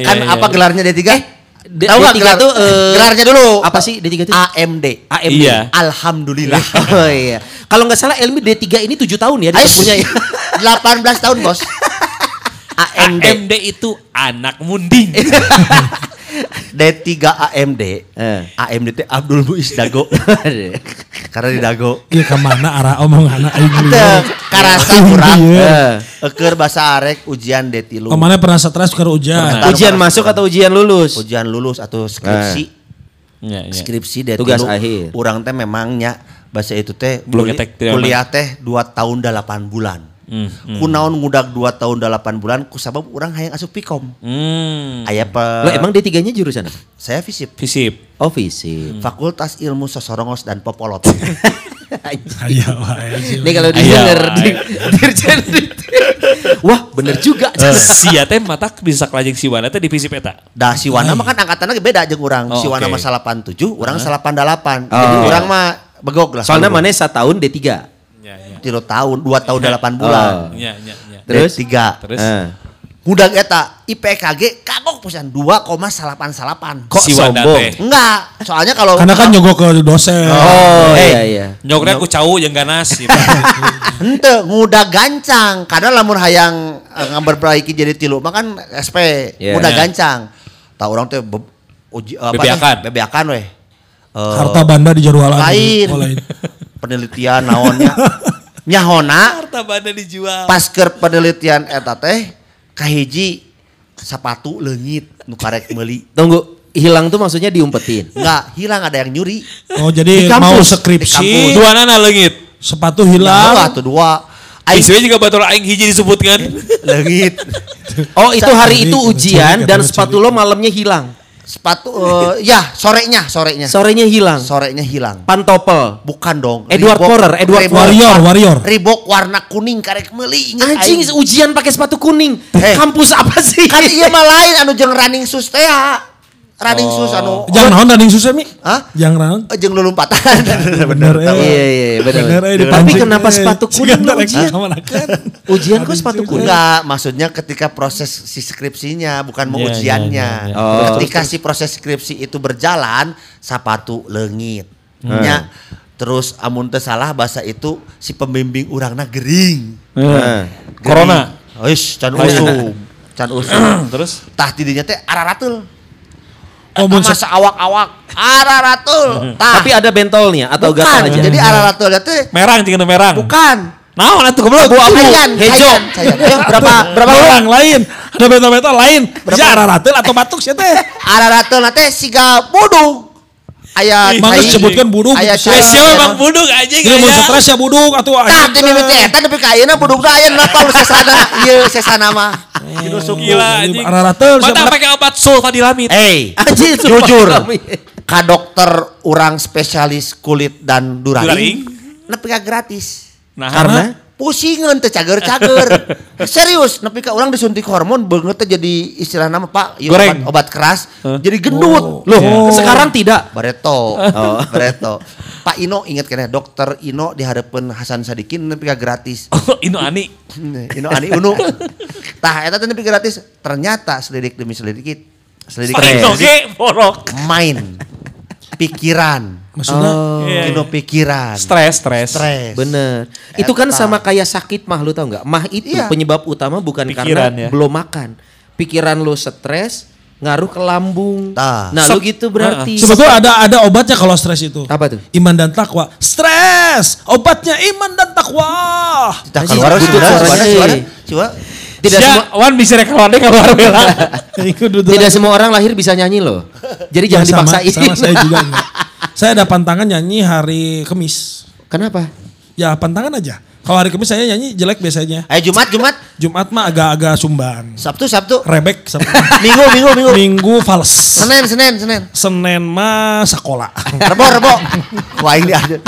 G: kan
F: Iya, iya.
G: apa gelarnya D3?
H: D-
G: Tahu nggak
H: D3
G: gelar
H: tuh, eh,
G: gelarnya dulu.
H: Apa sih D3 itu?
G: AMD.
H: AMD.
F: Iya.
G: Alhamdulillah.
H: Oh iya. Kalau nggak salah Elmi D3 ini 7 tahun ya
G: Ais,
H: ditempuhnya ya.
G: 18 tahun, Bos. AMD.
F: AMD itu anak munding.
G: D3 AMD.
H: Eh.
G: AMD teh Abdul Muiz Dago. Karena di Dago.
I: Iya kemana arah omongan aing
G: Teu karasa kurang.
F: Iya.
H: Eh.
G: Eker bahasa arek ujian D3.
F: Oh,
I: Kemana pernah stres karena hujan?
G: Pernah.
H: Ujian masuk atau ujian lulus?
G: Ujian lulus atau skripsi.
F: Iya, iya.
G: Skripsi D3.
H: Tugas akhir.
G: Urang teh memangnya bahasa itu teh
F: Belum
G: kuli-
F: ngetek, tidak
G: kuliah teh 2 tahun 8 bulan.
F: Hmm.
G: Kunaon ngudag 2 tahun 8 bulan kusabab urang hayang asup pikom.
F: Hmm,
G: Aya pe
H: Lo emang D3-nya jurusan apa?
G: saya fisip.
F: visip.
H: Oh
F: Hmm.
H: fisip.
G: Fakultas Ilmu Sosorongos dan Popolot.
I: Iya, wae. sih.
H: Ini kalau
F: Ayo,
H: didengar
F: ayo.
H: di- dirjen di- Wah, bener juga.
F: Sia teh mata bisa kelajeng si Wana teh di ya, visip eta.
G: Dah si Wana mah kan angkatannya beda aja urang.
F: Oh,
G: si Wana
F: oke.
G: mah 87, urang 88. Jadi
H: Oh.
G: urang mah begok lah.
H: Soalnya Eh. mana setahun D3.
F: Iya, iya.
G: Tiro tahun, 2 tahun 8 bulan.
H: Oh.
F: Iya, iya, iya.
G: Terus?
H: Terus?
G: tiga.
F: Terus?
H: Eh.
G: Gudang eta IPKG kagok pisan 2,88.
H: Kok
F: si Wanda
H: sombong?
F: teh.
G: Enggak, soalnya kalau
I: Karena kan nyogok ke dosen.
H: Oh,
G: Eh.
H: iya iya.
F: Nyoknya aku cau yang ganas. gitu.
G: henteu ngudag gancang karena lamun hayang eh, ngamperbaiki jadi tilu mah kan SP
H: Iya.
G: ngudag
F: Iya.
G: gancang. Tah urang teh be, uji apa
F: Bebeakan.
G: teh? Bebeakan weh. Eh,
I: Harta banda di jadwal
G: lain. penelitian naonnya. Nyahona
F: Harta banda dijual.
G: pas ke penelitian eta teh kahiji sepatu leungit nu karek meuli.
H: Tunggu, hilang tuh maksudnya diumpetin.
G: Enggak, hilang ada yang nyuri.
I: Oh jadi
G: Di kampus.
I: mau
G: Di
I: skripsi,
F: Dua nana lengit.
I: sepatu
G: Dua
I: hilang.
G: atau dua. Aing
F: Isinya juga batur aing hiji disebutkan.
G: leungit.
H: Oh, itu hari
I: Cari,
H: itu
I: cari,
H: ujian
I: cari,
H: dan
I: cari.
H: sepatu lo malamnya hilang.
G: Sepatu eh, ya sorenya, sorenya.
H: Sorenya hilang.
G: Sorenya hilang.
H: Pantopel.
G: Bukan dong.
H: Edward
G: Reebok-
H: Forer, Edward
G: Reebok-
I: Warrior, warrior.
G: Reebok warna kuning karek meuli ingat
H: Anjing
G: aing.
H: ujian pakai sepatu kuning.
G: Eh.
H: Kampus apa sih?
G: kan iya mah lain anu jeung running shoes teh ah. running shoes anu
I: Jangan naon tanding susah mi.
G: Hah?
I: Jangan naon.
G: jeung lulumpatan
I: Bener eh.
H: Iya, iya, bener.
I: eh,
H: Tapi
I: dipancing,
H: kenapa
I: eh.
H: sepatu kuning
I: Sigan
H: lu
I: tarik
H: ujian?
I: sama nakan.
H: Iya. Ujian Kan kok sepatu kuning?
G: enggak maksudnya ketika proses si skripsinya bukan mau
F: Iya, iya,
G: ujiannya
F: iya, iya.
H: Oh.
G: ketika si proses skripsi itu berjalan sepatu leungit
F: Hmm.
G: nya terus amun teu salah bahasa itu si pembimbing urangna gering
H: Heeh.
F: Corona.
G: Eish, can
F: Lain.
G: usum can usum
F: Terus?
G: tah tidinya teh araratul
I: Oh, mun
G: Masa awak-awak araratul
F: Hmm.
G: tah
H: Tapi ada bentolnya atau
G: bukan
H: gatal aja.
G: jadi araratul teh
F: Merang jeung merang.
G: bukan
F: Naon atuh goblok.
G: Abu Hayyan,
H: Hejo.
G: Hayyan, Hayyan.
H: Eh,
G: Ayo, berapa berapa
I: orang lain, ada bentol-bentol lain. Bisa raratil atau batuk
F: ya?
I: sih teh.
G: araratul teh siga bodoh aya
I: Mangga sebutkan bodoh
G: aya
I: gitu.
F: Wes Eh,
G: cara-
F: siapa Bang Buduk anjing Iya. Eh,
H: Iya,
I: Ini mau
F: aya.
I: stres ya buduk
H: Nah,
I: atau
G: Tah, di mimiti eta nepi ka ayeuna buduk teh aya napa lu sesana ieu sesana mah Dinu suku.
F: Gila anjing.
I: Araratul
F: Mata
I: siapa?
F: pakai obat sulfadilamid.
H: Eh,
G: Hey,
H: Anjing, sumpah iya.
G: jujur,
H: kami.
G: ka dokter orang spesialis kulit dan
F: Duraring.
G: duraring, nepi ka gratis.
F: Nah,
H: Karena
G: pusingan teh cager-cager. Serius, nepi ka urang disuntik hormon beungeut teh jadi istilah nama Pak, ieu
F: Goreng.
G: obat, obat keras jadi gendut.
H: loh,
F: Iya.
H: sekarang tidak.
G: Bareto, Oh, Bareto. Pak Ino inget kene dokter Ino diharapkan Hasan Sadikin nepi ka gratis.
F: Oh, Inu Ani.
G: Ino ani Uno. Tah eta teh nepi ka gratis. Ternyata selidik demi selidik selidik
F: Paling oge borok.
G: main pikiran.
I: Maksudnya
F: Iya,
G: Ino
F: iya.
G: pikiran.
F: Stres, stres.
G: Stres.
H: Bener. Itu kan
G: Eta.
H: sama kayak sakit mah lu tau nggak? Mah itu
G: Iya.
H: penyebab utama bukan
F: Pikiran,
H: karena
F: ya.
H: belum makan. Pikiran lu stres, ngaruh ke lambung.
G: Tah.
H: Nah, lu
F: Sep-
H: gitu berarti.
I: Sebetulnya ada ada obatnya kalau stres itu.
H: Apa tuh?
I: Iman dan takwa. Stres, obatnya iman dan takwa.
G: Kita
H: Anjing,
G: keluar
H: butuh
G: suara
H: suaranya.
G: suara suara. Coba.
I: Ya,
H: Tidak
F: Sia,
H: semua
F: Wan bisa rekaman deh keluar bela.
I: Ikut duduk.
H: tidak semua orang lahir bisa nyanyi loh. Jadi
I: Ya,
H: jangan
I: sama-
H: dipaksain.
I: Sama, saya juga. enggak. saya ada pantangan nyanyi hari Kamis.
H: Kenapa?
I: Ya pantangan aja. Kalau hari Kamis saya nyanyi jelek biasanya.
G: Ayo Jumat Jumat,
I: Jumat mah agak-agak sumbang.
G: Sabtu Sabtu,
I: Rebek sama
G: Minggu Minggu Minggu,
I: Minggu fals.
G: Senin Senin Senin.
I: Senin mah sekolah.
G: Rebo rebo. Wah ini ada.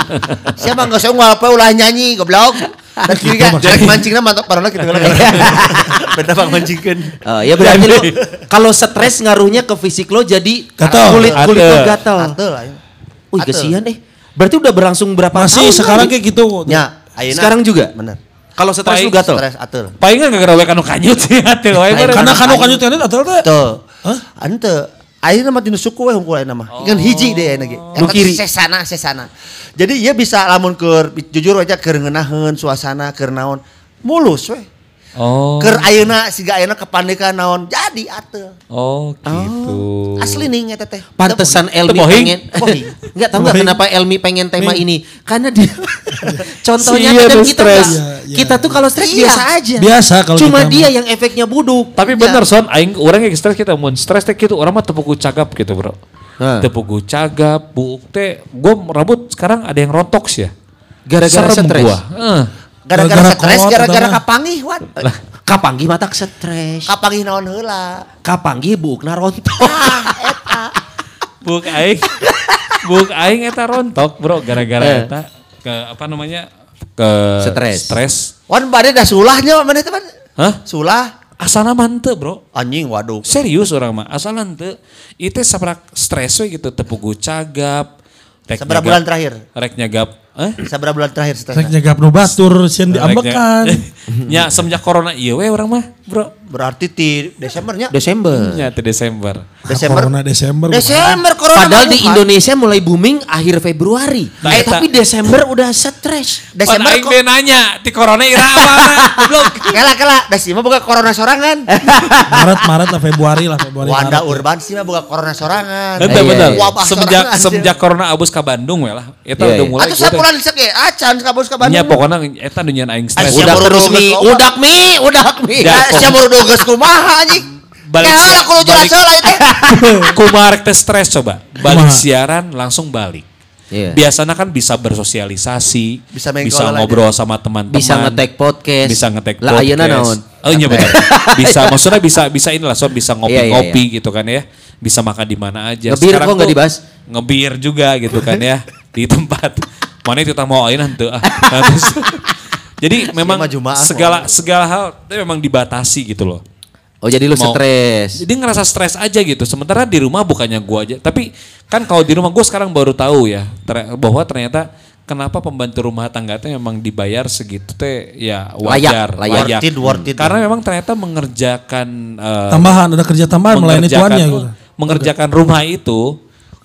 G: Siapa nggak usah ngapa ulah nyanyi goblok. Dan
H: Gitu,
G: kiri kan jelek mancingnya mantap parona kita
H: Iya.
G: kalau gitu kan. Bener bang mancingkan.
H: Eh, ya berarti lu kalau stres ngaruhnya ke fisik lo jadi
I: Gatel.
H: kulit kulit lo
F: Gatel.
H: gatel.
G: Atel ayo.
H: Wih
G: Gatel.
H: kasihan eh. Berarti udah berlangsung berapa
I: Masih
H: tahun
I: sekarang
H: lagi?
I: kayak gitu.
G: Ya, ayeuna.
H: Sekarang juga?
G: Bener.
H: Kalau stres lu
F: Baik,
H: gatel.
G: Stres atel.
F: Palingan gak gerawek anu kanyut sih hati lo.
I: Karena kan kanyut
F: ya,
I: kanyut atau teh.
G: Tuh. Ante. Ayeuna mah tinu suku we hukum ayeuna mah. Kan hiji deh ayeuna ge.
H: Nu kiri.
G: Sesana sesana. Jadi ieu bisa lamun keur jujur aja keur ngeunaheun suasana keur naon. Mulus we.
F: Oh.
G: Keur ayeuna siga ayeuna kepandekan naon. Jadi atel.
F: Oh gitu.
G: Asli nih eta teh.
H: Pantesan Elmi
F: Tebohing.
H: pengen Enggak tahu nggak kenapa Elmi pengen tema ini Karena dia Contohnya
F: Sia
H: kadang
F: lu
H: kita
F: stres.
H: nggak-
I: Iya, iya.
H: Kita tuh kalau stres
G: Iya.
H: biasa aja
I: Biasa kalau
H: Cuma
I: kita
H: dia
I: mah.
H: yang efeknya buduk Iya.
F: Tapi bener son, aing orang yang stres kita mun stres teh gitu orang mah tepuku cagap gitu bro.
H: Hah.
F: Tepuku cagap, buuk teh, gue rambut sekarang ada yang rontok sih ya.
H: Gara-gara
F: Serem
H: stres
F: gua. Eh.
G: gara-gara
I: Gara-gara
G: stres
I: kolot,
G: gara-gara
I: atau apa?
G: kapangih wan
H: Kapanggi matak stres
G: kapangih naon heula
H: Kapanggi buukna rontok
F: Buk aing. Buk aing eta rontok, Bro, gara-gara
H: Eh.
F: eta ke apa namanya? ke
H: Stres.
F: Stres.
G: wan bade dah sulahnya mana teman
F: Hah?
G: sulah
F: Asana mantep, Bro.
G: anjing waduh
F: Serius orang mah, asal nanti itu sabrak stres we gitu, tepugu cagap. rek
G: Seberapa
F: nyagap-
G: bulan terakhir?
F: Rek nyagap, eh?
G: sabar bulan terakhir
I: Rek
G: stres
I: nyegap nu batur sieun diambekan.
F: Ya, semenjak corona iya we orang mah, Bro.
G: berarti ti Desembernya
H: Desember
F: Ya, teh Desember.
G: Desember
I: Nah, Corona Desember.
G: Desember corona
H: Padahal di
G: Wuhan.
H: Indonesia mulai booming akhir Februari
F: Nah,
H: Eh
F: eta-
H: tapi Desember udah stres
F: Pan
G: Desember
F: aing
G: kok
F: be nanya, ti corona ira mana? Goblok.
G: Ah, kela kela Desember buka corona sorangan
H: Eh.
I: Maret Maret lah Februari lah Februari.
G: Wanda
I: Maret.
G: urban sih mah buka corona sorangan
F: Betul,
H: Iya,
F: betul.
H: iya.
G: Wabah
F: Semenjak
G: sorangan,
F: semenjak corona abus ke Bandung we lah. Eta
H: Iya,
F: udah
H: iya.
F: mulai.
G: atau
F: gua teh-
G: sapuran lisek ya acan kabus ka
F: Nya
G: Bandung
F: pokoknya eta dunia aing stres.
G: Asia
H: Udah
G: Baru
H: terus
G: baru
H: nih
G: baru
H: Udak nih Udak nih
F: Udah.
G: ya sia murudo geus kumaha anjing
F: Balik-
G: Balik, lah kudu jelas
F: balik-
G: heula ya teh.
F: Kumarek teh stres coba. Balik
I: Kumaha?
F: siaran langsung balik.
H: Iya.
F: Biasanya kan bisa bersosialisasi, bisa,
G: Bisa main kolol aja.
F: ngobrol sama teman-teman,
H: Bisa ngetek podcast.
F: bisa ngetek
H: Lah,
F: podcast.
H: ayeuna naon?
F: Oh iya benar. Bisa maksudnya bisa bisa inilah so bisa ngopi-ngopi
H: Iya, iya,
F: gitu kan ya. Bisa makan di mana aja.
H: Ngebir kok nggak
F: tuh
H: dibahas?
F: Ngebir juga gitu kan ya di tempat. Mana itu tamu ayeuna henteu ah. Terus, Jadi memang
G: mah Jumaah.
F: segala segala hal itu memang dibatasi gitu loh.
H: Oh jadi lu
F: Mau-
H: stres
F: Jadi ngerasa stres aja gitu. Sementara di rumah bukannya gua aja, tapi kan kalau di rumah gua sekarang baru tahu ya ter- bahwa ternyata kenapa pembantu rumah tangga teh memang dibayar segitu teh ya wajar,
H: Layak, layak.
F: layak.
G: Worth it, worth it.
F: Karena memang ternyata mengerjakan eh,
I: Tambahan ada kerja tambahan melayani
F: mengerjakan-
I: tuannya gitu.
F: Mengerjakan rumah itu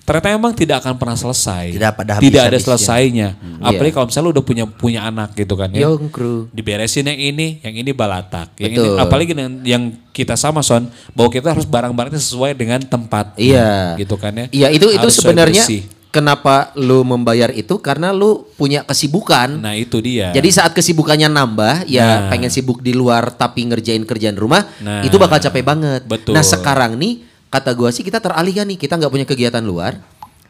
F: ternyata memang tidak akan pernah selesai.
G: Tidak pada
F: Tidak ada
G: habis-habisnya. Hmm. Iya.
F: selesainya. Apalagi kalau misalnya lu udah punya punya anak gitu kan ya
H: Yongkru
F: diberesin yang ini, yang ini balatak. Yang ini
H: Betul.
F: apalagi dengan yang kita sama son, bahwa kita harus barang-barangnya sesuai dengan tempat.
H: Iya
F: Gitu kan ya.
H: Iya itu itu
F: Harus sesuai
H: sebenarnya
F: bersih.
H: Kenapa lu membayar itu Karena lu punya kesibukan
F: Nah, itu dia.
H: Jadi saat kesibukannya nambah,
F: Nah.
H: ya pengen sibuk di luar tapi ngerjain kerjaan rumah,
F: Nah.
H: itu bakal capek banget.
F: Betul.
H: Nah sekarang nih, kata gua sih kita teralihkan nih, kita nggak punya kegiatan luar.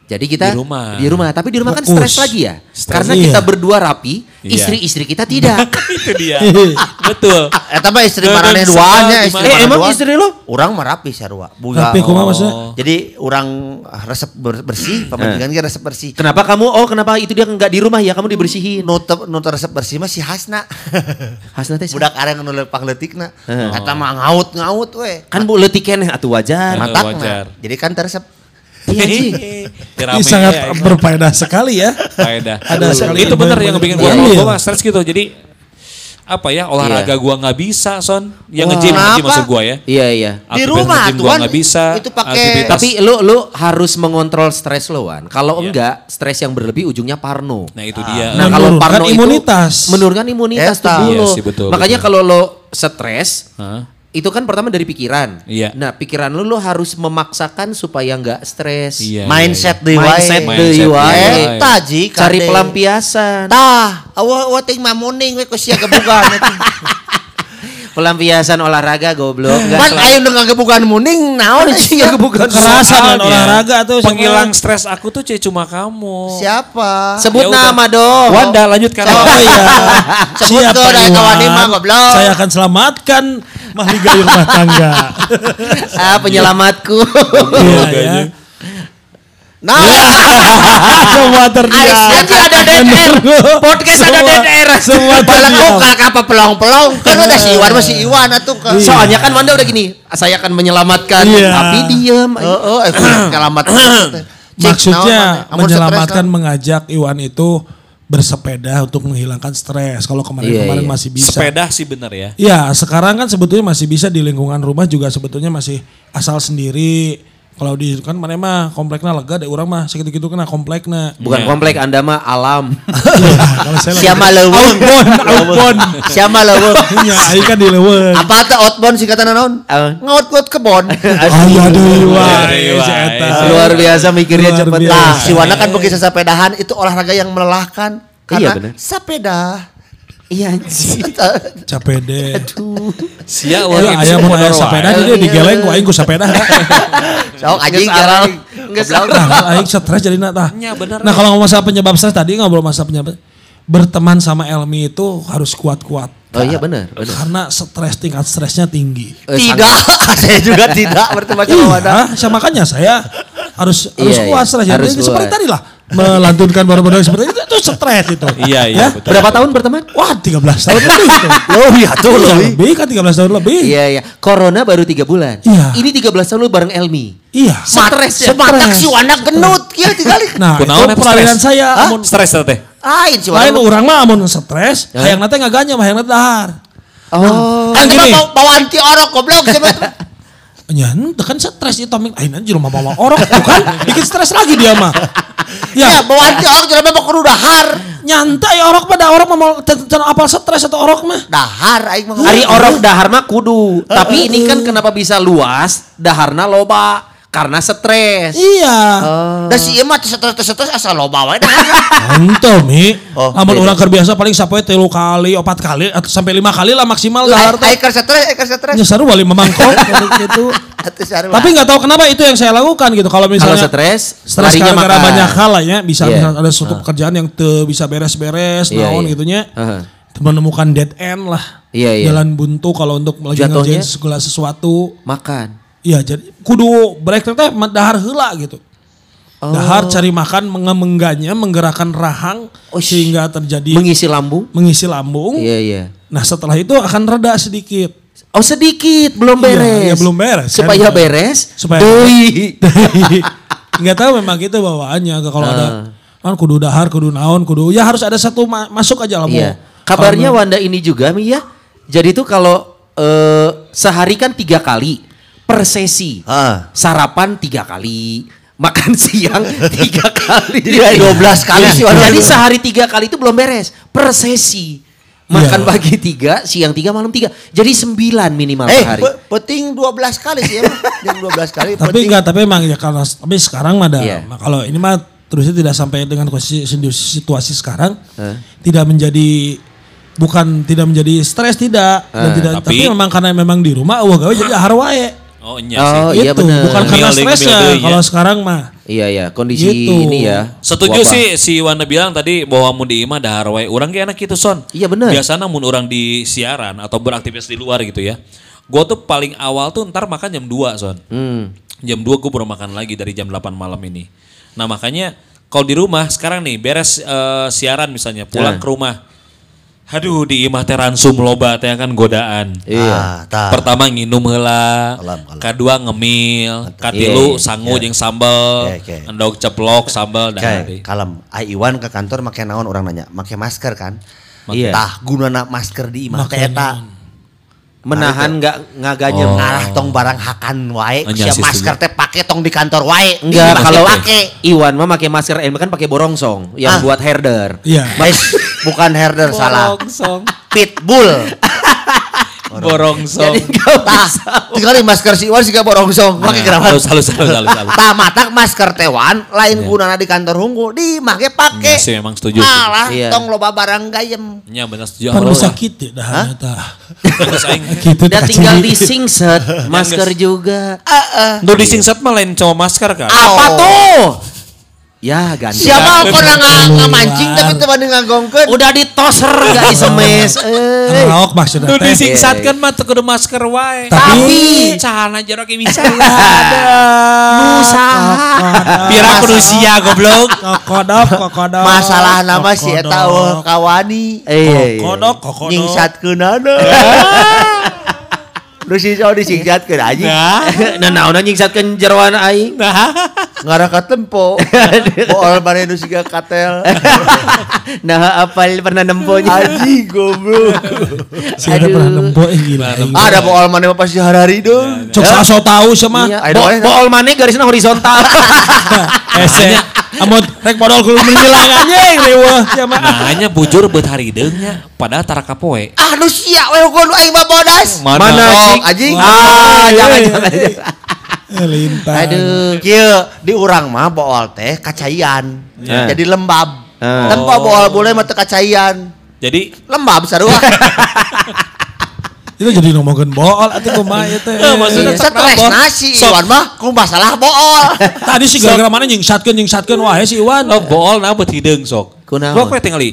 H: Jadi
F: Di
H: kita
F: rumah.
H: di rumah. Tapi di rumah kan
I: Fokus.
H: stres lagi ya,
F: Stres,
H: karena
I: iya.
H: kita berdua rapi,
F: Iya.
H: istri-istri kita tidak.
F: itu dia. Betul.
G: Ah, Eta mah istri
F: Dan-
G: marane
F: dan
G: duanya
F: sekarang
G: istri
F: gimana?
G: marane
H: Eh, emang
G: duaan.
H: istri lu?
G: Urang mah rapi sarua.
I: Rapi kumaha maksudnya?
G: Jadi urang resep ber- bersih, pemandingan ge resep bersih.
H: kenapa kamu? Oh Eh. kenapa itu dia nggak di rumah ya? Kamu dibersihin.
G: Nu teu- nu teu resep bersih mah si Hasna.
H: Hasna teh
G: Budak areng nu pangleutikna. Eta mah ngaut-ngaut we. Kan
H: kan bu letiken atuh wajar.
F: Mat- wajar.
G: Matakna. Jadi kan teresep.
H: Iya, sih.
F: ya,
I: Ini sangat
G: Iya,
I: berfaedah sekali ya.
F: faedah.
I: Ada sekali
F: itu benar yang bikin gua
I: Iya,
F: kalau
I: iya.
F: gua mah stres gitu. Jadi apa ya olahraga gua nggak bisa son yang nge-gym nge-gym
G: Kenapa?
F: maksud gua ya
H: Iya iya.
G: Di
F: Aktivitas
G: rumah,
F: nge-gym gua
G: Tuan.
F: nggak bisa
G: Itu pakai-
F: aktivitas-
H: Tapi lu lu harus mengontrol stres lo Wan. Kalau enggak, stres yang berlebih ujungnya parno.
F: nah itu dia
H: Iya. Nah kalau
I: Menurunkan
H: parno itu
I: imunitas.
H: menurunkan imunitas
G: Eta.
H: tubuh
F: Iya
H: lo.
F: sih, betul,
H: Makanya
F: betul.
H: kalau lo stres
F: Hah?
H: itu kan pertama dari pikiran.
F: Iya.
H: Nah, pikiran lu lu harus memaksakan supaya nggak stres.
F: Iya, iya,
G: Mindset deui
F: iya.
G: wae.
F: Mindset
H: deui
F: deui
H: wae.
F: wae.
G: Eta ji
H: Ya, Cari
G: kade.
H: pelampiasan.
G: Tah, awa awa ting mamuning we kusia gebugan.
H: Pelampiasan olahraga goblok. Nggak
G: Kan
H: selalu-
G: ayo dengan gebugan muning naon sih ya gebugan
I: Kekerasan dan
H: Iya.
F: Soalnya,
I: olahraga tuh. siapa?
F: kan, iya. Penghilang stres aku tuh c- cuma
H: Oh.
F: kamu.
I: Ah,
G: Siapa?
H: Sebut
F: Ya udah.
H: nama dong.
F: Wanda lanjutkan.
I: Oh iya.
G: Sebut
I: Siap,
G: tuh,
I: Pak
G: dari
I: Iwan.
G: kawan Ima, goblok.
I: Saya akan selamatkan mahligai rumah tangga.
H: Ah, penyelamatku.
I: Iya ya.
G: Nah,
H: Ya.
I: Semua terdiam.
G: Aji ada dead air. Podcast ada
I: Semua-
G: dead air.
I: semua
G: Balik
I: terdiam.
G: muka ke apa pelong-pelong. Kan udah si Iwan masih Iwan atuh. Kan.
H: Soalnya kan Wanda udah gini, saya akan menyelamatkan.
I: Iya.
H: Tapi diem.
G: Heeh, eh, nyelamatkan. Cik, naon
I: Maksudnya
G: maneh. Amun
I: menyelamatkan
G: stres, kan?
I: mengajak Iwan itu bersepeda untuk menghilangkan stres. Kalau kemarin-kemarin
H: Iya, iya.
I: masih bisa.
F: Sepeda sih bener ya.
I: Ya sekarang kan sebetulnya masih bisa di lingkungan rumah juga sebetulnya masih asal sendiri. Kalau di kan mana mah kompleknya lega deh orang mah segitu gitu kena kompleknya.
H: Bukan komplek Anda mah alam.
I: Iya, kalau saya
G: kan.
I: lagi-
G: Siapa leuweung?
I: Outbound, outbound.
G: Siapa leuweung?
I: Iya, ayo kan di leuweung.
G: Apa tuh outbound singkatan naon?
H: Apa?
G: Ngout-ngout kan? kebon.
I: Ayo deui wae
F: Aduh,
I: iya, si eta.
F: wae.
H: Luar biasa mikirnya
I: iya, Luar
H: cepet.
I: biasa.
H: Nah,
G: Nah, si Wanda kan pakai sepedahan itu olahraga yang melelahkan
H: Iya,
G: karena
H: bener.
G: sepeda.
H: Iya anjing.
I: Capek deh.
F: Sia
I: Ayo
F: orang
I: aya mun aya sepeda jadi digeleng ku aing ku sepeda.
G: Sok anjing
H: salah.
G: jarang.
H: Nggak
I: Nah, aing stres jadi nah tah.
F: Nya, bener.
I: Nah, kalau ngomong masalah penyebab stres tadi ngobrol masalah penyebab berteman sama Elmi itu harus kuat-kuat.
H: Oh iya benar. benar.
I: Karena stres tingkat stresnya tinggi.
H: Eh,
G: Tidak, saya juga tidak berteman sama Wanda.
I: Iya, saya makanya saya harus harus
H: Iya, iya.
I: kuat stresnya.
H: Harus
I: Jadi
H: kuat.
I: seperti tadi lah melantunkan baru-baru seperti itu itu stres itu.
F: Iya iya
I: Ya?
F: betul.
H: Berapa tahun berteman?
I: Wah, 13 tahun lebih itu.
H: Oh,
G: Loh, ya tuh
I: Iya,
G: loh.
I: lebih kan 13 tahun lebih.
H: Iya iya. Corona baru 3 bulan.
I: Iya.
H: Ini 13 tahun lu bareng Elmi.
I: Iya.
H: Stres ya.
G: Semantak
I: Stres.
G: si Wanda genut ya tinggal.
I: Nah,
F: Kunaon
I: itu
F: eta
I: peralihan
F: stres?
I: saya amun
F: Stres teh, teh.
G: Lain si
I: lain
G: Wanda.
I: orang mah amun stres, hayang nanti nggak ganyam, hayang nanti dahar.
H: Oh.
I: Kan
G: Kan cuma
I: gini.
G: mau bawa anti orok goblok siapa tuh?
I: Ya, ente kan stres itu amin. Aina di rumah mama orang tuh kan bikin stres lagi dia mah.
G: Ya,
H: Iya,
I: Ya,
G: bawa anti orok jelema mah kudu dahar.
I: nyantai orang pada orang mah mau apa stres atau orang mah.
G: Dahar aing mah.
H: Ari orok dahar mah kudu. Tapi ini kan kenapa bisa luas? Daharna loba karena stres.
I: Iya.
G: Da si ieu mah stres-stres asal loba wae dahar.
I: Ente mi.
G: Oh,
I: Amun orang keur biasa paling sapoe telu kali, opat kali atau sampai lima kali lah maksimal dahar.
G: Dahar aing keur stres, aing keur stres.
I: Ya seru balik memangkok gitu.
G: Atuh sarua.
I: Tapi nggak tahu kenapa itu yang saya lakukan gitu. Kalau
H: Kalau
I: misalnya
H: stres,
I: stres
H: larinya
I: gara-gara
H: makan.
I: banyak hal lah ya bisa
H: Iya.
I: misalnya ada suatu pekerjaan yang te bisa beres-beres
H: Iya,
I: naon
H: iya.
I: gitunya
H: Heeh.
I: menemukan dead end lah
H: Iya, iya.
I: jalan buntu kalau untuk lagi ngerjain
H: Jatuhnya?
I: segala sesuatu
H: Makan.
I: Iya jadi kudu break teh dahar heula gitu
H: Oh.
I: dahar cari makan mengemengganya menggerakkan rahang
H: Ush.
I: sehingga terjadi
H: Mengisi lambung.
I: mengisi lambung
H: Oh, Iya iya.
I: nah setelah itu akan reda sedikit
H: Oh sedikit belum
I: Iya,
H: beres.
I: iya, belum beres, kan?
H: Supaya beres.
I: Supaya-
H: Doi.
I: nggak tahu memang gitu bawaannya kalau ada
H: Ah.
I: kan kudu dahar kudu naon kudu ya harus ada satu ma- masuk aja lah Bu.
H: Iya. Kabarnya
I: Kalau-
H: Wanda ini juga Mi ya. Jadi tuh kalau eh, sehari kan tiga kali per sesi.
G: Ah.
H: Sarapan tiga kali. Makan siang tiga kali.
G: Jadi
H: Iya.
G: 12 kali sih Wanda.
H: Jadi sehari tiga kali itu belum beres. Per sesi. Makan
I: Iya.
H: pagi tiga, siang tiga, malam tiga. Jadi sembilan minimal
G: Eh,
H: per hari.
G: pe- penting 12 kali sih emang. Jam 12 kali
I: tapi
G: penting.
I: enggak tapi emang ya karena tapi sekarang mah ada
H: Iya.
I: mah kalau ini mah terusnya tidak sampai dengan kondisi sindu- situasi sekarang
H: Eh.
I: tidak menjadi bukan tidak menjadi stres tidak dan
H: Eh,
I: tidak tapi,
F: tapi-
I: memang karena memang di rumah wah gawe jadi dahar wae
F: Oh iya sih.
H: Oh iya
I: Gitu,
H: benar.
I: bukan
F: Ngemil
I: karena
F: deh,
I: stresnya
F: ngemil deh, ya.
I: kalau sekarang mah
H: Iya iya kondisi
I: Gitu.
H: ini ya.
F: Setuju
H: wabah.
F: sih si Wanda bilang tadi bahwa mun di imah dahar wae urang ge enak kitu son.
H: Iya, bener.
F: Biasana mun orang di siaran atau beraktivitas di luar gitu ya. Gua tuh paling awal tuh ntar makan jam 2 son.
H: Hmm.
F: Jam 2 gue baru makan lagi dari jam 8 malam ini. Nah makanya kalau di rumah sekarang nih beres eh, siaran misalnya
G: Ya.
F: pulang ke rumah. Aduh di imah teh ransum loba teh kan godaan.
H: Iya,
G: Ah, tah.
F: Pertama nginum heula,
G: Alam, alam.
F: kedua ngemil,
H: Iya,
F: katilu sangu jeung sambel,
G: Iya, iya.
F: endog ceplok sambel dahar.
G: Kayak kalem, Ah, Iwan ke kantor pakai naon orang nanya, pakai masker kan?
H: Iya.
G: Tah gunana masker di imah teh eta
H: Menahan nggak
G: Oh.
F: Oh.
H: ngaganya.
G: ngarah tong barang hakan wae,
F: Anya sih
G: sia masker teh pakai tong di kantor wae. Di
H: Enggak
G: imah
H: kalau
G: teh pake.
H: Iwan mah Iya, pakai masker Iwan kan pakai borongsong
G: Ah.
H: yang buat herder.
I: Iya.
G: Mas, bukan herder salah.
H: Borongsong.
G: Pitbull.
F: Borongsong.
G: Tah, tinggal di masker si Iwan juga borongsong, pakai kerabat.
F: Nah, Halus, halus, halus, halus, halus.
G: Tah matak masker tewan lain gunana di kantor hunggu, di make pake.
F: Iya sih, memang setuju.
G: Malah
H: Iya.
G: tong loba barang gayem.
F: Nya benar setuju.
H: Ya
I: Pan
F: Halus.
I: Kan bisa sakit dah nyata.
F: Halus, aing.
I: Gitu
H: Udah
I: dah,
H: tinggal
I: ciri.
H: di singset, masker juga.
G: Iya.
F: Nu disingset mah lain cowok masker kan.
G: Ah.
H: Apa tuh? Ya ganti.
G: Siapa kok nggak ngamancing tapi teman ngagongkeun.
H: Udah ditoser gak disemes. Eh.
I: Raok maksudnya.
F: Nu
I: teh.
G: Iya,
F: disingset kan mah teu kudu masker wae.
I: Tapi- Iya.
F: cahana jorok ini bisa ada. Pira kudu sia goblok.
I: Ah, Kokodok, kokodok.
G: Masalah nama ya, si eta weh, kawani.
F: Iya,
H: Eh,
I: Kokodok, kokodok.
G: Nyingsatkeun ada. Lu si Sao
H: oh,
G: disingsatkeun anjing.
H: nah naon nyingsatkeun jeroan aing.
G: Ngaraka tempo. Boal bari nu siga katel.
H: Nah, apal pernah nemponya.
G: Anjing goblok.
I: Si Rara pernah nembo, eh gila. eh.
G: Ada boal mana mah pasti hari-hari dong.
I: Cok so tahu sama.
H: Iya.
G: Ayo,
H: Bo-
G: ayo.
H: Bool mana garisnya horizontal.
I: Ese. Amot rek modal kudu menjelang anjing leuweuh. Sia mah.
F: Nah, nya bujur beut hari deungnya padahal tara kapoe.
G: Ah nu sia we hukum aing mah bodas.
F: Mana?
G: Sok, anjing. Ah jangan jangan. jangan.
I: Eh, Lintang.
G: Aduh, kieu di urang mah bool teh kacaian.
H: Ya.
G: Jadi lembab.
H: Ah.
G: Tempo bool boleh mah teu kacaian.
F: Jadi
G: Lembab sarua.
I: Itu jadi ngomongin bool atuh kumaha ieu teh.
F: Eh, maksudnya
G: Iya, Stres
F: kenapa?
G: nasi
F: Sok.
G: Iwan mah ku masalah bool.
I: Tadi si gara-gara mana nyingsatkeun nyingsatkeun wae si Iwan.
F: lo bool na beut hideung sok.
H: Kunaon?
F: Blok we tingali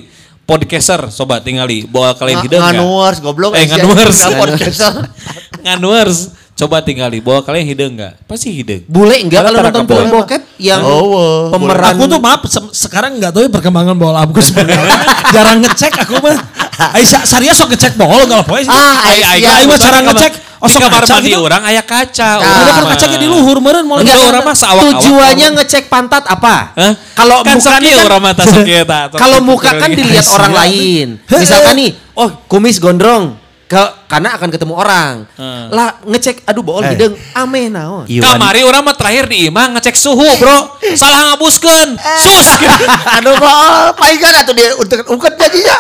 F: podcaster sobat tingali bool kalian hideung nggak?
G: Nganuers goblok.
F: Eh,
G: eh, sia.
F: nganuers.
G: Ka podcaster.
F: Nganuers coba tingali bool kalian hideung enggak? Pasti hideung.
H: Bule enggak
F: Padahal
H: kalau
F: tara
H: nonton
F: kapoe.
H: film bokep yang
G: Oh, wow.
H: pemeran
I: Aku tuh maaf se- sekarang nggak tahu ya perkembangan bola aku sebenarnya. Jarang ngecek aku mah. Aisyah Saria sok ngecek bola kalau poe.
G: Ah,
F: Ai- ai- ai-
I: Iya,
G: Aisyah.
I: ieu mah
F: betul,
I: cara
F: di kamar-
I: ngecek. Oh,
F: Di
I: sok
F: kamar
I: kaca
F: mandi
I: gitu.
F: orang aya kaca.
I: Udah
F: Urang
I: kan
F: mah.
I: kacanya di luhur meureun moal.
H: Enggak,
F: Itu orang mah seawak-awak.
I: kan
H: Tujuannya ngecek pantat apa?
F: Hah?
H: Kalau
F: Kan
H: muka
F: sakit
H: kan-
F: orang mata sakit, ah, eta.
H: Kalau muka kan dilihat orang
I: Kasihan.
H: lain.
I: Heeh.
H: Misalkan nih, oh kumis gondrong. Ke, karena akan ketemu orang.
F: Hmm.
H: Lah ngecek, aduh bool
G: Eh.
H: hideung, ameh naon.
G: Iya.
I: Iya.
F: Kamari orang mah terakhir di imah ngecek suhu, Bro. Salah ngabuskeun. Sus.
G: Aduh bool, palingan atuh dia untuk ungkep jadinya. ya.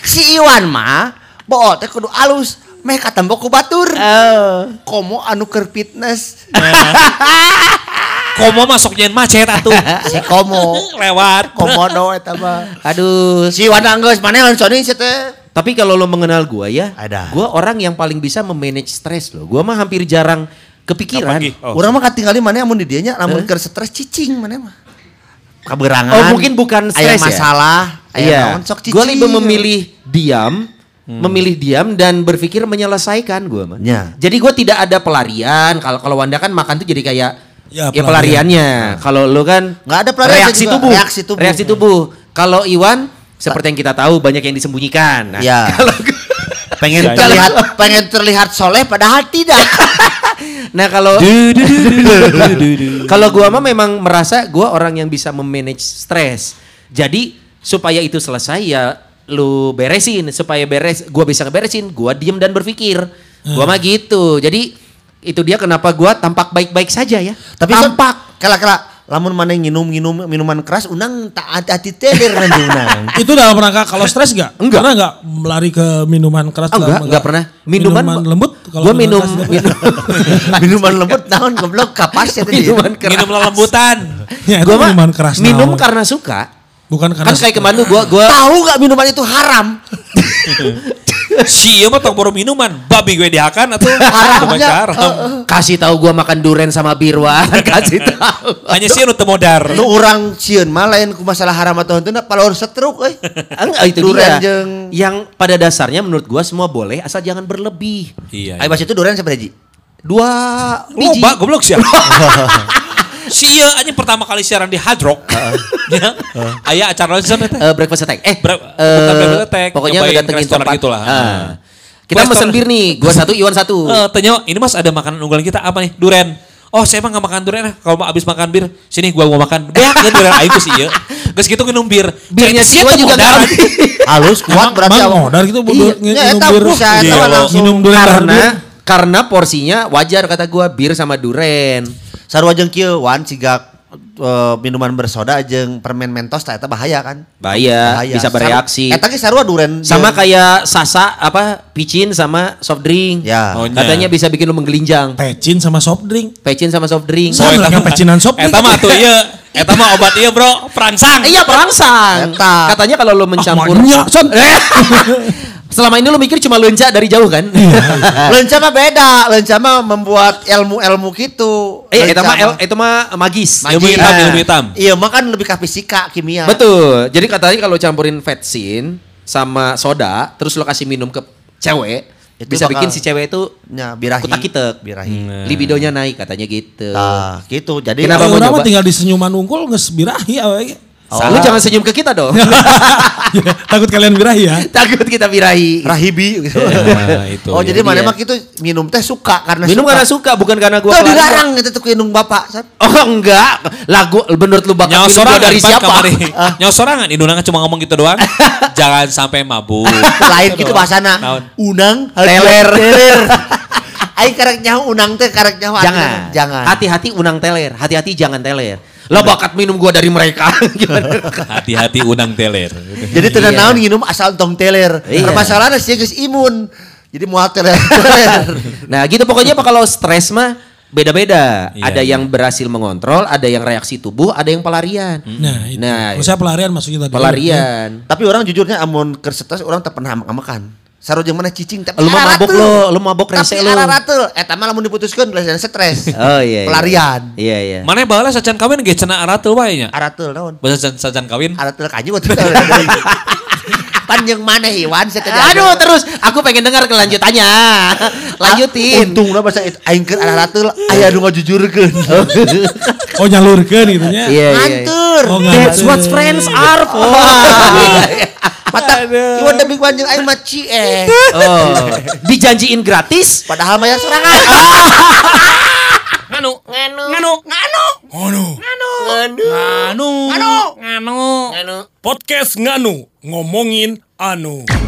G: Si Iwan mah bool teh kudu alus, meh katempo ku batur.
H: Oh.
G: Komo anu keur fitness.
F: Komo masuk nyen macet atuh.
G: Si komo,
F: Lewat.
G: komo do eta mah.
H: Aduh.
G: Si Iwan anggeus maneh lawan Sony sia teh.
H: Tapi kalau lo mengenal gua ya,
G: Ada.
H: gua orang yang paling bisa memanage stres lo. Gua mah hampir jarang kepikiran.
F: Apagi? Oh.
G: Urang mah katingali maneh amun di dieu nya lamun keur stres cicing maneh mah. Kaberangan.
H: Eh? Oh, mungkin bukan
G: Aya
H: stres ya?
G: masalah, aya
H: Iya.
G: naon sok cicing.
H: Gua lebih memilih diam, memilih diam dan berpikir menyelesaikan gua mah.
G: Ya.
H: Jadi gua tidak ada pelarian. Kalau kalau Wanda kan makan tuh jadi kayak
I: Ya,
H: ya,
I: pelarian.
H: pelariannya. Kalau lu kan
G: Nggak ada pelarian,
H: Reaksi
G: juga.
H: tubuh.
G: Reaksi tubuh.
H: Reaksi tubuh. Kalau Iwan seperti yang kita tahu banyak yang disembunyikan. Nah,
G: Ya.
H: Kalau Iya, gua-
G: pengen terlihat pengen terlihat soleh padahal tidak
H: nah kalau kalau gua mah memang merasa gua orang yang bisa memanage stres. Jadi supaya itu selesai ya lu beresin supaya beres gua bisa ngeberesin, gua diem dan berpikir. Gua mah gitu. Jadi itu dia kenapa gua tampak baik-baik saja ya.
G: tapi kan sempak
H: tampak
G: kala kala lamun mana nginum nginum minuman keras unang tak hati hati teler nanti unang
I: Itu dalam rangka kalau stres enggak?
H: Enggak.
I: Pernah enggak melari ke minuman keras?
H: Oh, enggak,
I: dalam-
H: enggak pernah. Minuman,
I: lembut kalau
H: gua minum,
I: keras enggak
H: minum,
I: pernah.
G: minuman lembut naon goblok kapas ya tadi
H: minuman keras.
F: Minum lelembutan.
I: Ya, itu
H: Gua mah
I: minuman keras.
H: minum
I: naon.
H: karena suka.
I: bukan karena
H: kan kayak kemarin tuh gua gua
G: tahu nggak minuman itu haram
F: Si ieu mah tong boro minuman, babi gue dihakan atuh. Haramnya. Haram.
H: eh, kasih tahu gua makan duren sama birwan, kasih tahu.
F: Hanya sih anu teu modar.
G: nu orang sieun mah lain ku masalah haram atau henteu na palor setruk eh. euy
H: Enggak itu
G: Duren
H: dia.
G: jeung
H: Yang pada dasarnya menurut gua semua boleh asal jangan berlebih.
F: Iya.
G: ai bas itu durian sabaraha hiji
H: Dua biji.
F: Loba goblok siapa? si iya anjing pertama kali siaran di Hard Rock. Ya. Aya acara lain sana teh.
H: Eh, breakfast attack. Eh,
F: Bre-
H: eh,
F: bukan breakfast attack,
H: Pokoknya
F: nyobain
H: udah datengin
F: restoran
H: tempat.
F: gitulah.
H: Ah. Kita
F: Restoran.
H: mesen bir nih, gua satu, Iwan satu.
F: Eh, tanya, ini mas ada makanan unggulan kita apa nih? Duren. Oh saya mah gak makan duren ah. Kalau abis makan bir, sini gua mau makan. Beak ya duren aing tuh sih iya. Geus gitu minum bir. gitu
H: Birnya
F: Cai
H: si
F: teh
H: Iwan
F: teu
H: juga
F: modal.
H: enggak.
G: halus kuat berarti
I: Mang
G: awak.
I: modar gitu bu,
G: Iya,
I: nge-
G: ya,
I: minum
G: eta
I: bir.
G: busa, eta
F: Iya,
G: mah
F: Allah.
G: langsung.
I: Minum duren
H: Karena
I: karena
H: karena porsinya wajar kata gua bir sama duren.
G: sarua jeung kieu wan siga eh, minuman bersoda jeung permen mentos tak, eta bahaya kan?
H: Bahaya, Ya, bisa bereaksi.
G: Eta ge sarua duren.
H: Sama
G: jeung-
H: kayak sasa apa picin sama soft drink.
G: Ya.
F: Maunya.
H: Katanya bisa bikin lu menggelinjang.
I: Pecin sama soft drink. Ah,
H: Pecin sama soft drink.
I: Sama lah kan pecinan soft drink.
F: Eta mah tuh iya. Eta mah obat iya bro. Perangsang.
H: Iya perangsang.
G: Eta. Ah,
H: Katanya kalau lu mencampur.
I: maunya, Son.
H: eh! Selama ini lu mikir cuma lenca dari jauh kan?
G: Iya. Lenca mah beda, lenca mah membuat ilmu-ilmu gitu.
H: eh, itu
G: Lenca
H: mah el- itu mah magis.
F: Ilmu
G: Iya.
F: hitam, ilmu hitam.
G: Iya, mah kan lebih ke fisika, kimia.
H: Betul. Jadi katanya kalau campurin vetsin sama soda, terus lo kasih minum ke cewek,
G: Itu
H: bisa
G: bakal-
H: bikin si cewek itu
G: Ya, birahi.
H: kutak-kitek. Hmm.
G: Birahi.
F: Eh.
H: libidonya naik katanya gitu.
G: Nah, gitu. Jadi
H: Kenapa
I: Kalau
H: mau
I: orang mah
H: nyoba?
I: tinggal di senyuman unggul nges birahi awe ge.
H: Sa-
G: Oh.
H: Lu jangan senyum ke kita dong.
I: Ya, Takut kalian birahi ya.
H: Takut kita birahi.
G: rahibi gitu.
F: Nah, itu.
G: oh, jadi mana
H: iya.
G: mah gitu minum teh suka karena
H: Minum
G: suka.
H: karena suka bukan karena gua
G: Tuh
H: kelar.
G: dilarang gitu tuh minum bapak. Sat.
H: Oh enggak. Lagu menurut lu bakal
F: Nyawa
H: minum gua
F: sorangan
H: dari
F: Pan,
H: siapa? Ah.
F: kamari. Nyawa sorangan. Indunangan cuma ngomong gitu doang. Jangan sampai mabuk.
I: Nah,
G: Lain gitu bahasana.
F: Naon?
G: Unang
H: Teler.
G: Aing karek nyaho unang teh karek nyaho atuh.
H: jangan.
G: jangan.
H: Hati-hati unang teler. Hati-hati jangan teler. Lo bakat minum gua dari mereka. Gimana?
F: Hati-hati unang teler.
G: Jadi tidak
H: Iya.
G: naon nginum asal tong teler.
H: Iya.
G: Permasalahannya sih geus imun. Jadi moal teler.
H: Nah gitu pokoknya apa kalau stres mah beda-beda.
F: Iya,
H: ada
F: iya.
H: yang berhasil mengontrol, ada yang reaksi tubuh, ada yang pelarian.
F: Hmm.
I: Nah, itu.
H: Nah,
I: Kalau saya pelarian masuknya tadi.
H: pelarian.
G: Tapi orang jujurnya amun keur stres orang tak pernah makan. Sarua jeung mana cicing tapi
H: Lu mah
G: arah
H: mabok
G: tuh.
H: lo, lu mabok rese
G: Tapi
H: lo.
G: arah ratul. Eta mah lamun diputuskeun belasan stres.
H: Oh iya. iya.
G: Pelarian.
H: Iya iya.
F: Mana balas sajan kawin ge cenah aratul wae nya.
G: Aratul naon?
F: Bahasa sajan- sajan kawin.
G: Aratul kanyu waktu itu. Panjang mana hewan setelah
H: Aduh terus aku pengen dengar kelanjutannya. Lanjutin.
G: Untung lah bahasa aing keur aratul aya nu ngajujurkeun.
I: Oh nyalurkan gitu nya.
H: Iya
G: Ngantur.
I: Oh, ngantur.
H: That's what friends are for.
G: Mata kieu demi panjang aing mah cie.
H: oh, dijanjiin gratis.
G: Padahal mah ya sorangan.
E: Nganu, nganu, nganu, nganu, nganu,
F: Anu.
E: nganu, nganu.
F: Podcast Nganu ngomongin Anu.